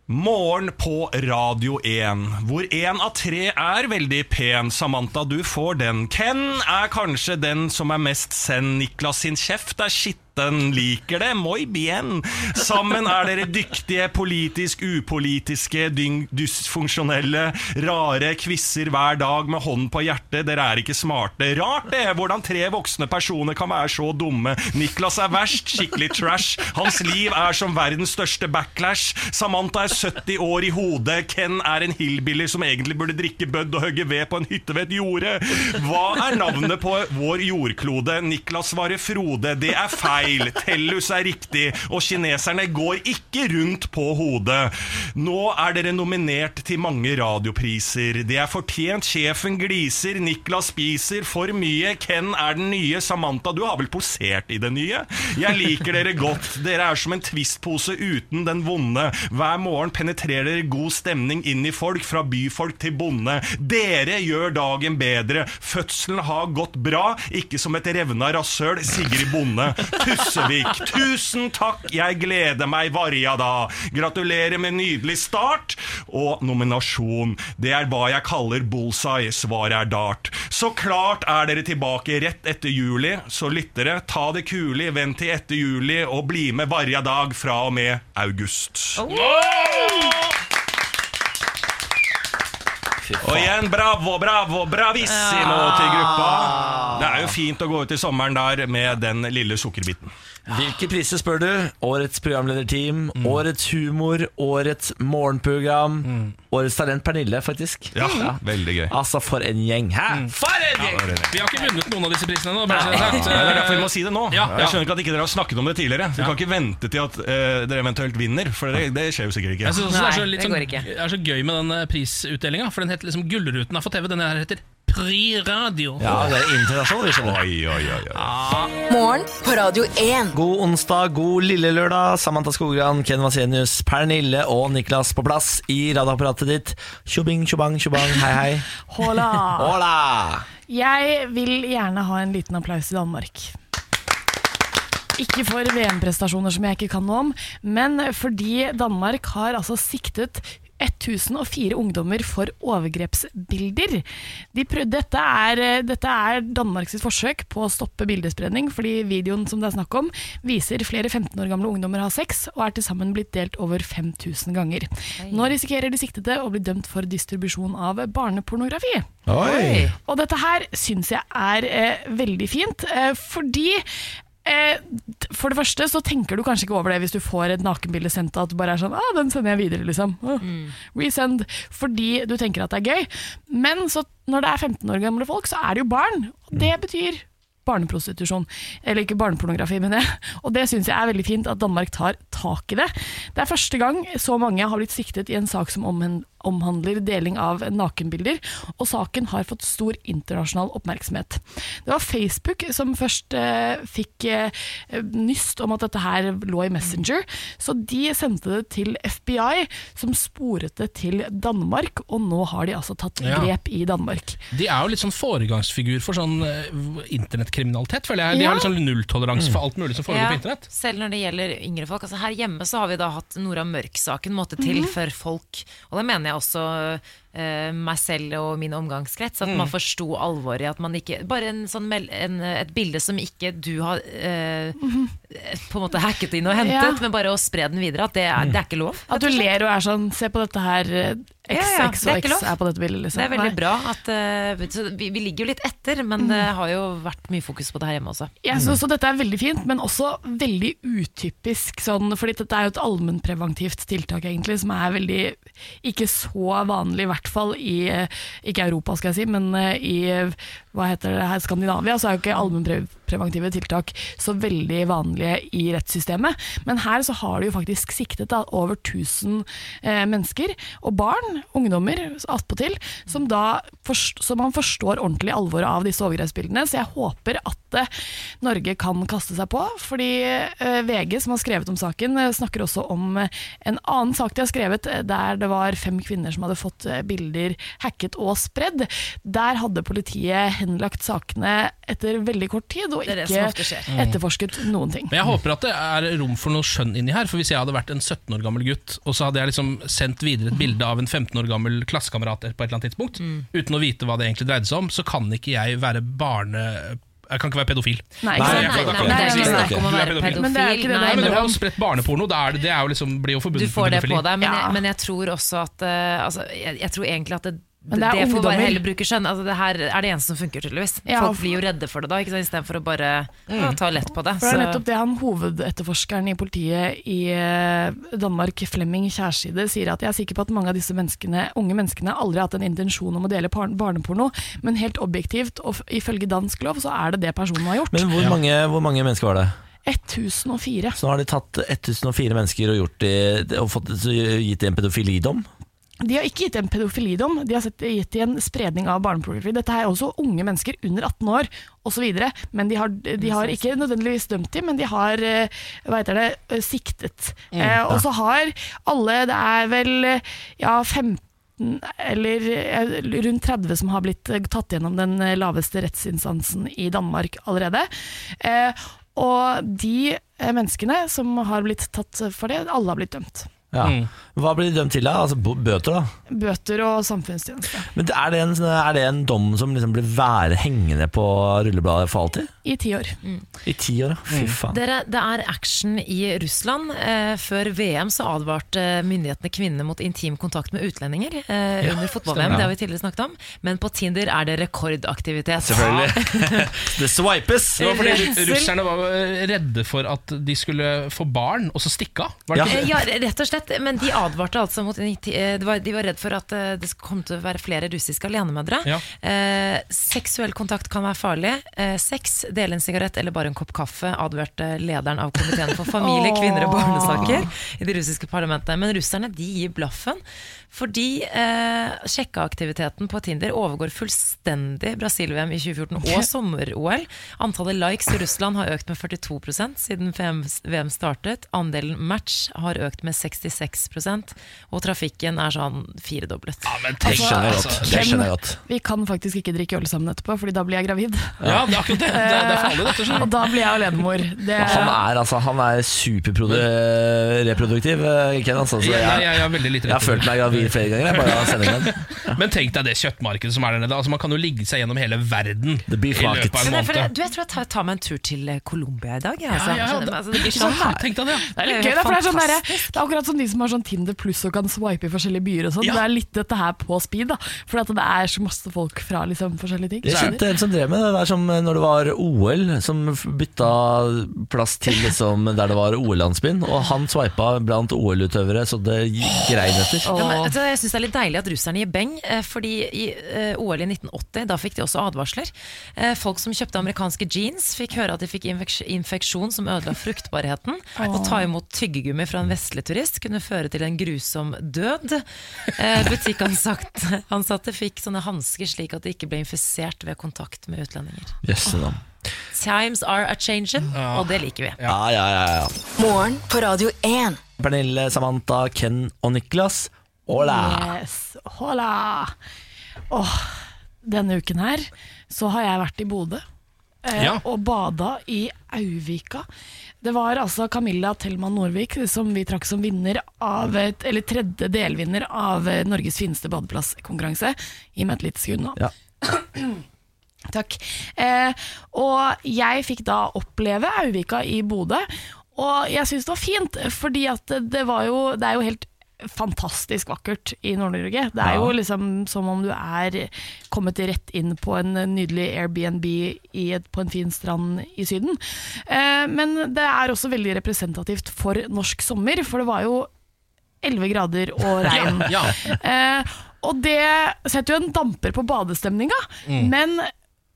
S7: Morgen på Radio 1, hvor én av tre er veldig pen. Samantha, du får den. Ken er kanskje den som er mest send. Niklas sin kjeft er skitten, liker det, moi bien. Sammen er dere dyktige, politisk upolitiske, dyng- dysfunksjonelle, rare kvisser hver dag med hånden på hjertet. Dere er ikke smarte. Rart det, hvordan tre voksne personer kan være så dumme. Niklas er verst, skikkelig trash. Hans liv er som verdens største backlash. Samantha er 70 år i hodet. Ken er en hillbilly som egentlig burde drikke bødd og hogge ved på en hytte ved et jorde. Hva er navnet på vår jordklode? Niklas svarer Frode. Det er feil. Tellus er riktig. Og kineserne går ikke rundt på hodet. Nå er dere nominert til mange radiopriser. Det er fortjent. Sjefen gliser. Niklas spiser for mye. Ken er den nye. Samantha, du har vel posert i det nye? Jeg liker dere godt. Dere er som en twistpose uten den vonde. Hver morgen penetrerer dere god stemning inn i folk, fra byfolk til bonde. Dere gjør dagen bedre. Fødselen har gått bra, ikke som et revna rasshøl. Sigrid Bonde. Tussevik, tusen takk, jeg gleder meg varja da. Gratulerer med nydelig start og nominasjon. Det er hva jeg kaller bullseye. Svaret er dart. Så klart er dere tilbake rett etter juli, så lyttere, ta det kulig, vent til etter juli og bli med varja dag fra og med august. Og igjen bravo, bravo, bravissimo til gruppa. Det er jo fint å gå ut i sommeren der med den lille sukkerbiten.
S1: Hvilke priser spør du? Årets programlederteam,
S7: Mm.
S1: årets humor, årets morgenprogram, årets talent Pernille, faktisk.
S7: Mm. Ja,
S3: Mm.
S7: Mm. veldig gøy.
S1: Altså, for en gjeng. Hæ? For en gjeng!
S3: Vi har ikke vunnet noen av disse prisene ennå. bare så det er
S7: Nei, det er derfor vi må
S3: sagt.
S7: si det nå.
S3: Ja.
S7: Jeg skjønner ikke at ikke dere har snakket om det tidligere. Du kan ikke vente til at eh, dere eventuelt vinner, for det, det skjer jo sikkert
S3: Jeg
S7: ikke.
S3: synes også det, er så
S2: Nei,
S3: litt
S2: det
S3: sånn,
S2: går ikke.
S3: det er så gøy med den prisutdelinga, for den heter liksom Gullruten er for TV. Denne her heter Pri Radio.
S1: Ja, det er internasjonal, vi skjønner.
S7: Oi, oi, oi, oi.
S4: Morgen på Radio 1.
S1: God onsdag, god lille lørdag. Samantha Skogran, Ken Vasenius, Pernille og Niklas på plass i radioapparatet ditt. Tjobing, tjobang, tjobang. Hei, hei.
S10: Hola.
S1: Hola!
S10: Jeg vil gjerne ha en liten applaus i Danmark. Ikke for VM-prestasjoner som jeg ikke kan noe om, men fordi Danmark har altså siktet 1004 ungdommer for overgrepsbilder. De prøv, dette, er, eh, dette er Danmarks sitt forsøk på å stoppe bildespredning, fordi videoen som det er snakk om, viser flere 15 år gamle ungdommer har sex, og er til sammen blitt delt over 5000 ganger. Nå risikerer de siktede å bli dømt for distribusjon av barnepornografi.
S1: Oi!
S10: Og dette her syns jeg er eh, veldig fint, eh, fordi Eh, t- for det første så tenker du kanskje ikke over det hvis du får et nakenbilde sendt at du bare er sånn ah, 'den sender jeg videre', liksom. Ah, Resend. Fordi du tenker at det er gøy. Men så, når det er 15 år gamle folk, så er det jo barn. Og det betyr barneprostitusjon. Eller ikke barnepornografi, men det. Og det syns jeg er veldig fint at Danmark tar tak i det. Det er første gang så mange har blitt siktet i en sak som omhen- omhandler deling av nakenbilder, og saken har fått stor internasjonal oppmerksomhet. Det var Facebook som først eh, fikk eh, nyst om at dette her lå i Messenger, så de sendte det til FBI, som sporet det til Danmark, og nå har de altså tatt
S3: Ja.
S10: grep i Danmark.
S3: De er jo litt sånn foregangsfigur for sånn eh, internettkriminalitet, føler jeg. De
S10: Ja.
S3: har litt sånn nulltoleranse for alt mulig som foregår på internett.
S2: Selv når det gjelder yngre folk. Altså her hjemme så har vi da hatt Nora Mørk-saken måtte til
S10: Mhm.
S2: for folk. Og da mener jeg også eh, meg selv og min omgangskrets. At
S10: Mm.
S2: man forsto alvoret i at man ikke Bare en sånn mel en, et bilde som ikke du har eh, på en måte hacket inn og hentet,
S10: Ja.
S2: men bare å spre den videre. At det er,
S3: Mm.
S2: det er ikke lov.
S10: At du ler og er sånn 'se på dette her, eh,
S2: Ja,
S10: X,
S2: ja,
S10: X
S2: det er
S10: og
S2: ikke
S10: X
S2: lov.
S10: er på dette bildet'. Liksom.
S2: Det er veldig
S10: Nei.
S2: bra at eh, så vi, vi ligger jo litt etter,
S3: Mm.
S2: men det har jo vært mye fokus på det her hjemme også.
S10: Jeg synes også dette er veldig fint, men også veldig utypisk. Sånn, fordi dette er jo et allmennpreventivt tiltak, egentlig, som er veldig ikke så vanlig, i hvert fall i eh, Ikke Europa, skal jeg si, men eh, i eh, hva heter det her, Skandinavia så er jo ikke allmennpreventive tiltak så veldig vanlige i rettssystemet. Men her så har de jo faktisk siktet da, over 1000 eh, mennesker, og barn, ungdommer attpåtil, som da forst så man forstår ordentlig alvoret av disse overgrepsbildene. Så jeg håper at eh, Norge kan kaste seg på. Fordi eh, VG, som har skrevet om saken, eh, snakker også om eh, en annen sak de har skrevet, eh, der det var fem kvinner som hadde fått eh, bilder hacket og spredd. Der hadde politiet henlagt sakene etter veldig kort tid, og
S2: Det er det
S10: ikke
S2: som ofte skjer.
S10: etterforsket noen ting.
S3: Men jeg håper at det er rom for noe skjønn inni her. For Hvis jeg hadde vært en 17 år gammel gutt, og så hadde jeg liksom sendt videre et bilde av en 15 år gammel klassekamerat på et eller annet tidspunkt,
S2: Mm.
S3: uten å vite hva det egentlig dreide seg om, så kan ikke jeg være barne... Jeg kan ikke være pedofil.
S2: Nei, ikke sant?
S3: jeg kan
S2: Nei, nei,
S3: ikke være
S2: nei, det er ikke snakk om å
S3: Du er
S2: være pedofil.
S3: Men det er ikke det
S2: Nei,
S3: der. Men du
S2: men-
S3: har jo spredt barneporno. Da er det, det er jo liksom, blir jo
S2: Du
S3: forbundet
S2: får det på deg, men,
S3: Ja.
S2: jeg, men jeg tror også at eh, altså, jeg, jeg tror egentlig at det,
S10: Men
S2: det,
S10: det er
S2: får
S10: ungdommer.
S2: bare heller bruke skjønn. Altså, det her er det eneste som funker, tydeligvis.
S10: Ja,
S2: Folk
S10: for-
S2: blir jo redde for det da, ikke sant? istedenfor å bare ja, ta lett på det.
S10: For det er nettopp det han hovedetterforskeren i politiet i eh, Danmark, Flemming Kjærside, sier at jeg er sikker på at mange av disse menneskene, unge menneskene aldri har hatt en intensjon om å dele par barneporno, men helt objektivt, og f- ifølge dansk lov, så er det det personen har gjort.
S1: Men hvor, mange, hvor mange mennesker var det?
S10: 1004.
S1: Så nå har de tatt 1004 mennesker og, gjort de, og fått, så gitt de en pedofilidom?
S10: De har ikke gitt en pedofilidom, de har sett, gitt en spredning av barnepornografi. Dette er også unge mennesker under 18 år osv. Men de har, de har ikke nødvendigvis dømt dem, men de har eh, hva heter det, eh, siktet.
S11: Mm.
S10: Eh, og så har alle, det er vel eh, ja, 15 eller eh, rundt 30 som har blitt eh, tatt gjennom den eh, laveste rettsinstansen i Danmark allerede. Eh, og de eh, menneskene som har blitt tatt for det, alle har blitt dømt.
S1: Ja. Hva blir de dømt til da? Altså bo- bøter, da?
S10: Bøter og samfunnstjeneste.
S1: Men er det en, er det en dom som liksom blir være hengende på rullebladet for alltid?
S10: I ti år.
S1: I ti år, da? Fy faen.
S2: Dere, det er action i Russland. Eh, før VM så advarte myndighetene kvinnene mot intim kontakt med utlendinger eh,
S1: Ja,
S2: under fotball-VM.
S1: stemmer.
S2: Det har vi tidligere snakket om. Men på Tinder er det rekordaktivitet.
S1: Selvfølgelig. det swipes!
S3: Det var fordi
S2: Redsel.
S3: ru- russerne var eh, redde for at de skulle få barn, og så stikke av. Var det ikke
S2: Eh,
S3: det?
S2: Ja, rett og slett. Men de advarte altså mot eh, det var, De var redd for at eh, det kom til å være flere russiske alenemødre.
S3: Ja.
S2: Eh, seksuell kontakt kan være farlig. Eh, sex, dele en sigarett eller bare en kopp kaffe, advarte lederen av komiteen for familie,
S11: Åh.
S2: kvinner og barnesaker i det russiske parlamentet. Men russerne de gir blaffen. Fordi eh, sjekkeaktiviteten på Tinder overgår fullstendig Brasil-VM i 2014 og sommer-OL. Antallet likes i Russland har økt med 42 siden VM startet. Andelen match har økt med 66 og trafikken er sånn firedoblet. Ja,
S3: men altså.
S1: Det skjønner jeg godt. Det skjønner jeg godt.
S10: Vi kan faktisk ikke drikke øl sammen etterpå, Fordi da blir jeg gravid.
S1: Ja, det er
S3: akkurat det. Det er- det er farlig, dette, skjønner du.
S10: Og da blir jeg alenemor. Det,
S1: Han er, altså, han er superreproduktiv, Ken. Altså, så
S3: Ja,
S1: jeg,
S3: nei, jeg- jeg er veldig lite
S1: jeg har følt meg gravid flere ganger. Jeg bare av sendingen.
S3: Men tenk deg det kjøttmarkedet som er der nede. Altså, man kan jo ligge seg gjennom hele verden. i
S1: beef
S3: løpet av
S1: market.
S3: en
S2: Men jeg, føler,
S3: måned.
S2: du, jeg tror jeg tar, tar meg en tur til eh, Colombia i dag. jeg, altså.
S3: Ja, ja, ja,
S2: Skjønner du? Altså, det blir
S3: ikke
S2: sånn
S3: sant? Tenk deg det, ja.
S10: det er litt gøy, da, for det er, sånn derre- det er akkurat som de som har sånn Tinder pluss og kan swipe i forskjellige byer og sånn. Det er litt dette her på speed, da. For at det er så masse folk fra liksom, forskjellige ting.
S1: Jeg kjente en som drev med det. Det er som når det var OL, som bytta plass til liksom, der det var OL-landsbyen. Og han sveipa blant OL-utøvere, så det grein etter.
S2: Ja, men, vet du hva, jeg syns det er litt deilig at russerne gir beng, eh, fordi i eh, OL i 1980 da fikk de også advarsler. Eh, Folk som kjøpte amerikanske jeans, fikk høre at de fikk infeks- infeksjon som ødela fruktbarheten.
S11: Åh.
S2: Å ta imot tyggegummi fra en vestlig turist kunne kunne føre til en grusom død. Eh, Butikkansatte ansatte fikk sånne hansker slik at de ikke ble infisert ved kontakt med utlendinger.
S1: Jøsse navn.
S2: Times are a changing, og det liker vi.
S1: Ja, ja, ja, ja.
S4: Morgen på Radio 1.
S1: Pernille, Samantha, Ken og Niklas. Hola!
S10: Yes, hola! Åh, denne uken her så har jeg vært i Bodø eh,
S3: Ja.
S10: og bada i Auvika. Det var altså Camilla Tellmann Norvik som vi trakk som vinner av et, eller tredje delvinner av eh, Norges fineste badeplasskonkurranse. Gi meg et lite sekund nå.
S1: Ja.
S10: Takk. Eh, og jeg fikk da oppleve Auvika i Bodø, og jeg syns det var fint, fordi at det var jo Det er jo helt fantastisk vakkert i Nord-Norge. Det er jo liksom som om du er kommet rett inn på en nydelig Airbnb i et, på en fin strand i Syden. Eh, men det er også veldig representativt for norsk sommer, for det var jo 11 grader og regn.
S3: Ja,
S10: Eh, og det setter jo en damper på badestemninga, men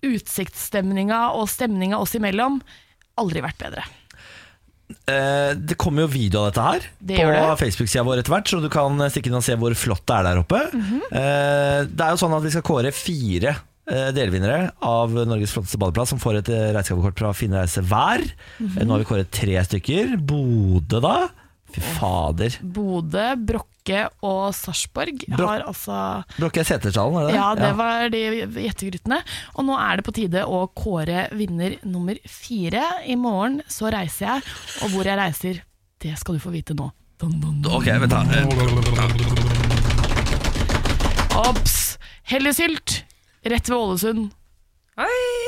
S10: utsiktsstemninga og stemninga oss imellom aldri vært bedre.
S1: Eh, det kommer jo video av dette her
S10: Det
S1: på
S10: gjør det.
S1: Facebook-sida vår etter hvert, så du kan eh, stikke inn og se hvor flott det er der oppe.
S10: Mhm.
S1: eh, det er jo sånn at vi skal kåre fire eh, delvinnere av Norges flotteste badeplass, som får et eh, reisegavekort fra Fine Reise hver.
S10: Mhm.
S1: Eh, Nå har vi kåret tre stykker. Bodø, da? Fy fader.
S10: Bodø, Brokke og Sarpsborg
S1: Brok-
S10: har altså
S1: Brokke Setersdalen, er det det?
S10: Ja, det var de gjettegrytene. Og nå er det på tide å kåre vinner nummer fire. I morgen så reiser jeg, og hvor jeg reiser, det skal du få vite nå. Dun, dun, dun.
S1: Ok, vent da. Eh,
S10: Ops! Hellesylt, rett ved Ålesund.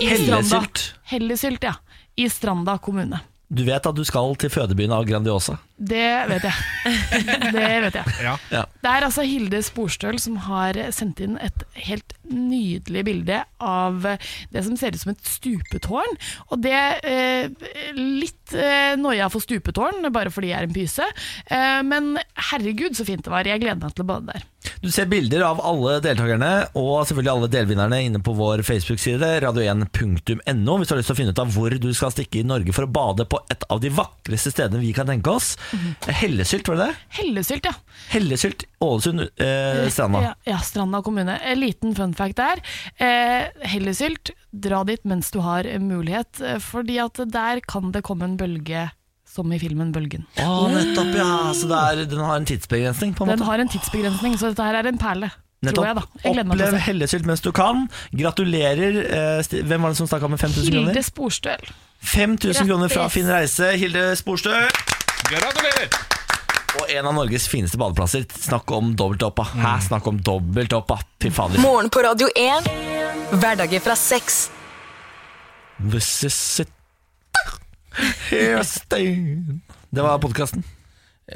S10: I Stranda.
S1: Hellesylt.
S10: Hellesylt, ja. I Stranda kommune.
S1: Du vet at du skal til fødebyen av Grandiosa.
S10: Det vet jeg. Det vet jeg.
S1: Ja.
S10: Det er altså Hilde Sporstøl som har sendt inn et helt nydelig bilde av det som ser ut som et stupetårn. Og det eh, Litt eh, noia for stupetårn, bare fordi jeg er en pyse. Eh, men herregud, så fint det var. Jeg gleder meg til å bade der.
S1: Du ser bilder av alle deltakerne og selvfølgelig alle delvinnerne inne på vår Facebook-side, radio1.no, hvis du har lyst til å finne ut av hvor du skal stikke i Norge for å bade på et av de vakreste stedene vi kan tenke oss.
S10: Mhm.
S1: Hellesylt, var det det?
S10: Hellesylt, ja.
S1: Hellesylt, Ålesund, eh, Stranda.
S10: Ja, ja, Stranda kommune. En liten fun fact der. Eh, Hellesylt, dra dit mens du har mulighet, eh, fordi at der kan det komme en bølge som i filmen Bølgen.
S1: Å, nettopp, ja. Så det er, den har en tidsbegrensning, på en
S10: Den
S1: måte.
S10: har en tidsbegrensning, så dette her er en perle. Tror jeg, da. Jeg gleder meg til
S1: Opplev
S10: å se.
S1: Hellesylt mens du kan. Gratulerer. Eh, Sti- Hvem var det som stakk av med 5000 kroner?
S10: Hilde Sporstøl.
S1: 5000 kroner fra Finn Reise. Hilde Sporstø.
S3: Gratulerer!
S1: Og en av Norges fineste badeplasser. Snakk om dobbelt opp, da. Hæ, snakk om dobbelt opp, da. Fy fader.
S4: Morgen på Radio 1. Hverdager fra seks.
S1: This is it. Here I stand. Det var podkasten.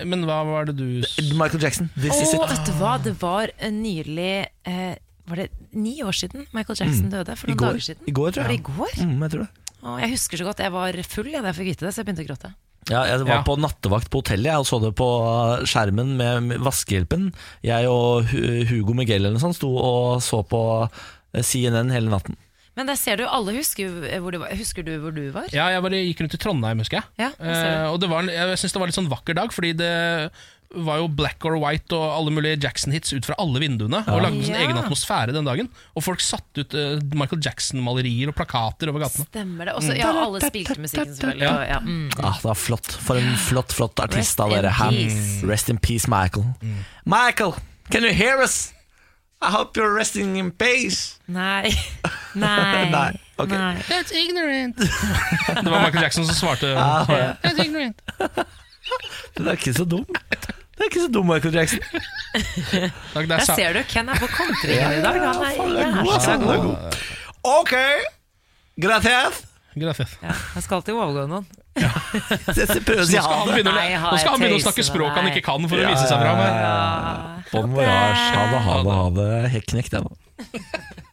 S3: Men hva var det du s-
S1: Michael Jackson. This is
S2: Og
S1: it.
S2: vet du hva, det var en nylig eh, Var det ni år siden Michael Jackson døde? For
S1: Mm. I
S2: noen
S1: går.
S2: dager siden.
S1: I går, tror
S2: Var det
S1: jeg.
S2: i går?
S1: Mm, jeg tror det.
S2: Å, jeg husker så godt, jeg var full ja, da jeg fikk vite det, så jeg begynte å gråte.
S1: Ja, jeg var
S3: Ja.
S1: på nattevakt på hotellet jeg, og så det på uh, skjermen med med vaskehjelpen. Jeg og Hu- Hugo Miguel eller noe sånt sto og så på uh, CNN hele natten.
S2: Men der ser du, alle husker jo eh, hvor du var. Husker du hvor du var?
S3: Ja, jeg bare gikk rundt i Trondheim, husker jeg.
S2: Ja, jeg ser det.
S3: Eh, og det var en, jeg syns det var en litt sånn vakker dag, fordi det var jo black or white og alle mulige Jackson-hits ut fra alle vinduene. Og lagde sin
S2: Ja.
S3: egen atmosfære den dagen. Og folk satte ut eh, Michael Jackson-malerier og plakater over
S1: Eh,
S3: gatene.
S2: Stemmer det. Også, ja,
S1: Mm.
S2: alle spilte musikken selvfølgelig.
S3: Ja.
S2: Og, ja. mm.
S1: Ah, det var flott. For en flott, flott artist
S2: Rest
S1: av dere.
S2: in
S1: Ham.
S2: peace. Mm.
S1: Rest in peace, Michael. Michael, can you hear us? I hope you're resting in peace.
S2: Nei. Nei.
S1: Nei, ok.
S2: Nei.
S3: That's ignorant. det var Michael Jackson som svarte. That's ignorant.
S1: Den er ikke så dum. Den er ikke så dum, Michael Jackson.
S3: Takk, det er
S2: Der
S3: sa-
S2: ser du, Ken er på kontringen i dag. Han er
S1: Den er god,
S2: jævla
S1: altså. Den er god. Ok, gratias.
S3: Gracias.
S2: Ja, Han skal alltid overgå noen.
S1: Jeg prøver å si
S3: Nå skal
S1: ha
S3: han
S1: det.
S3: begynne, å le-
S2: Nei, jeg har-
S3: nå skal han begynne å
S2: jeg
S3: snakke
S2: tøyser med
S3: språk han
S2: deg.
S3: ikke kan, for
S1: Ja,
S3: å vise seg fram.
S1: ja, ja. Bon voyage. Ha det, ha det, ha det. Helt knekt, jeg nå.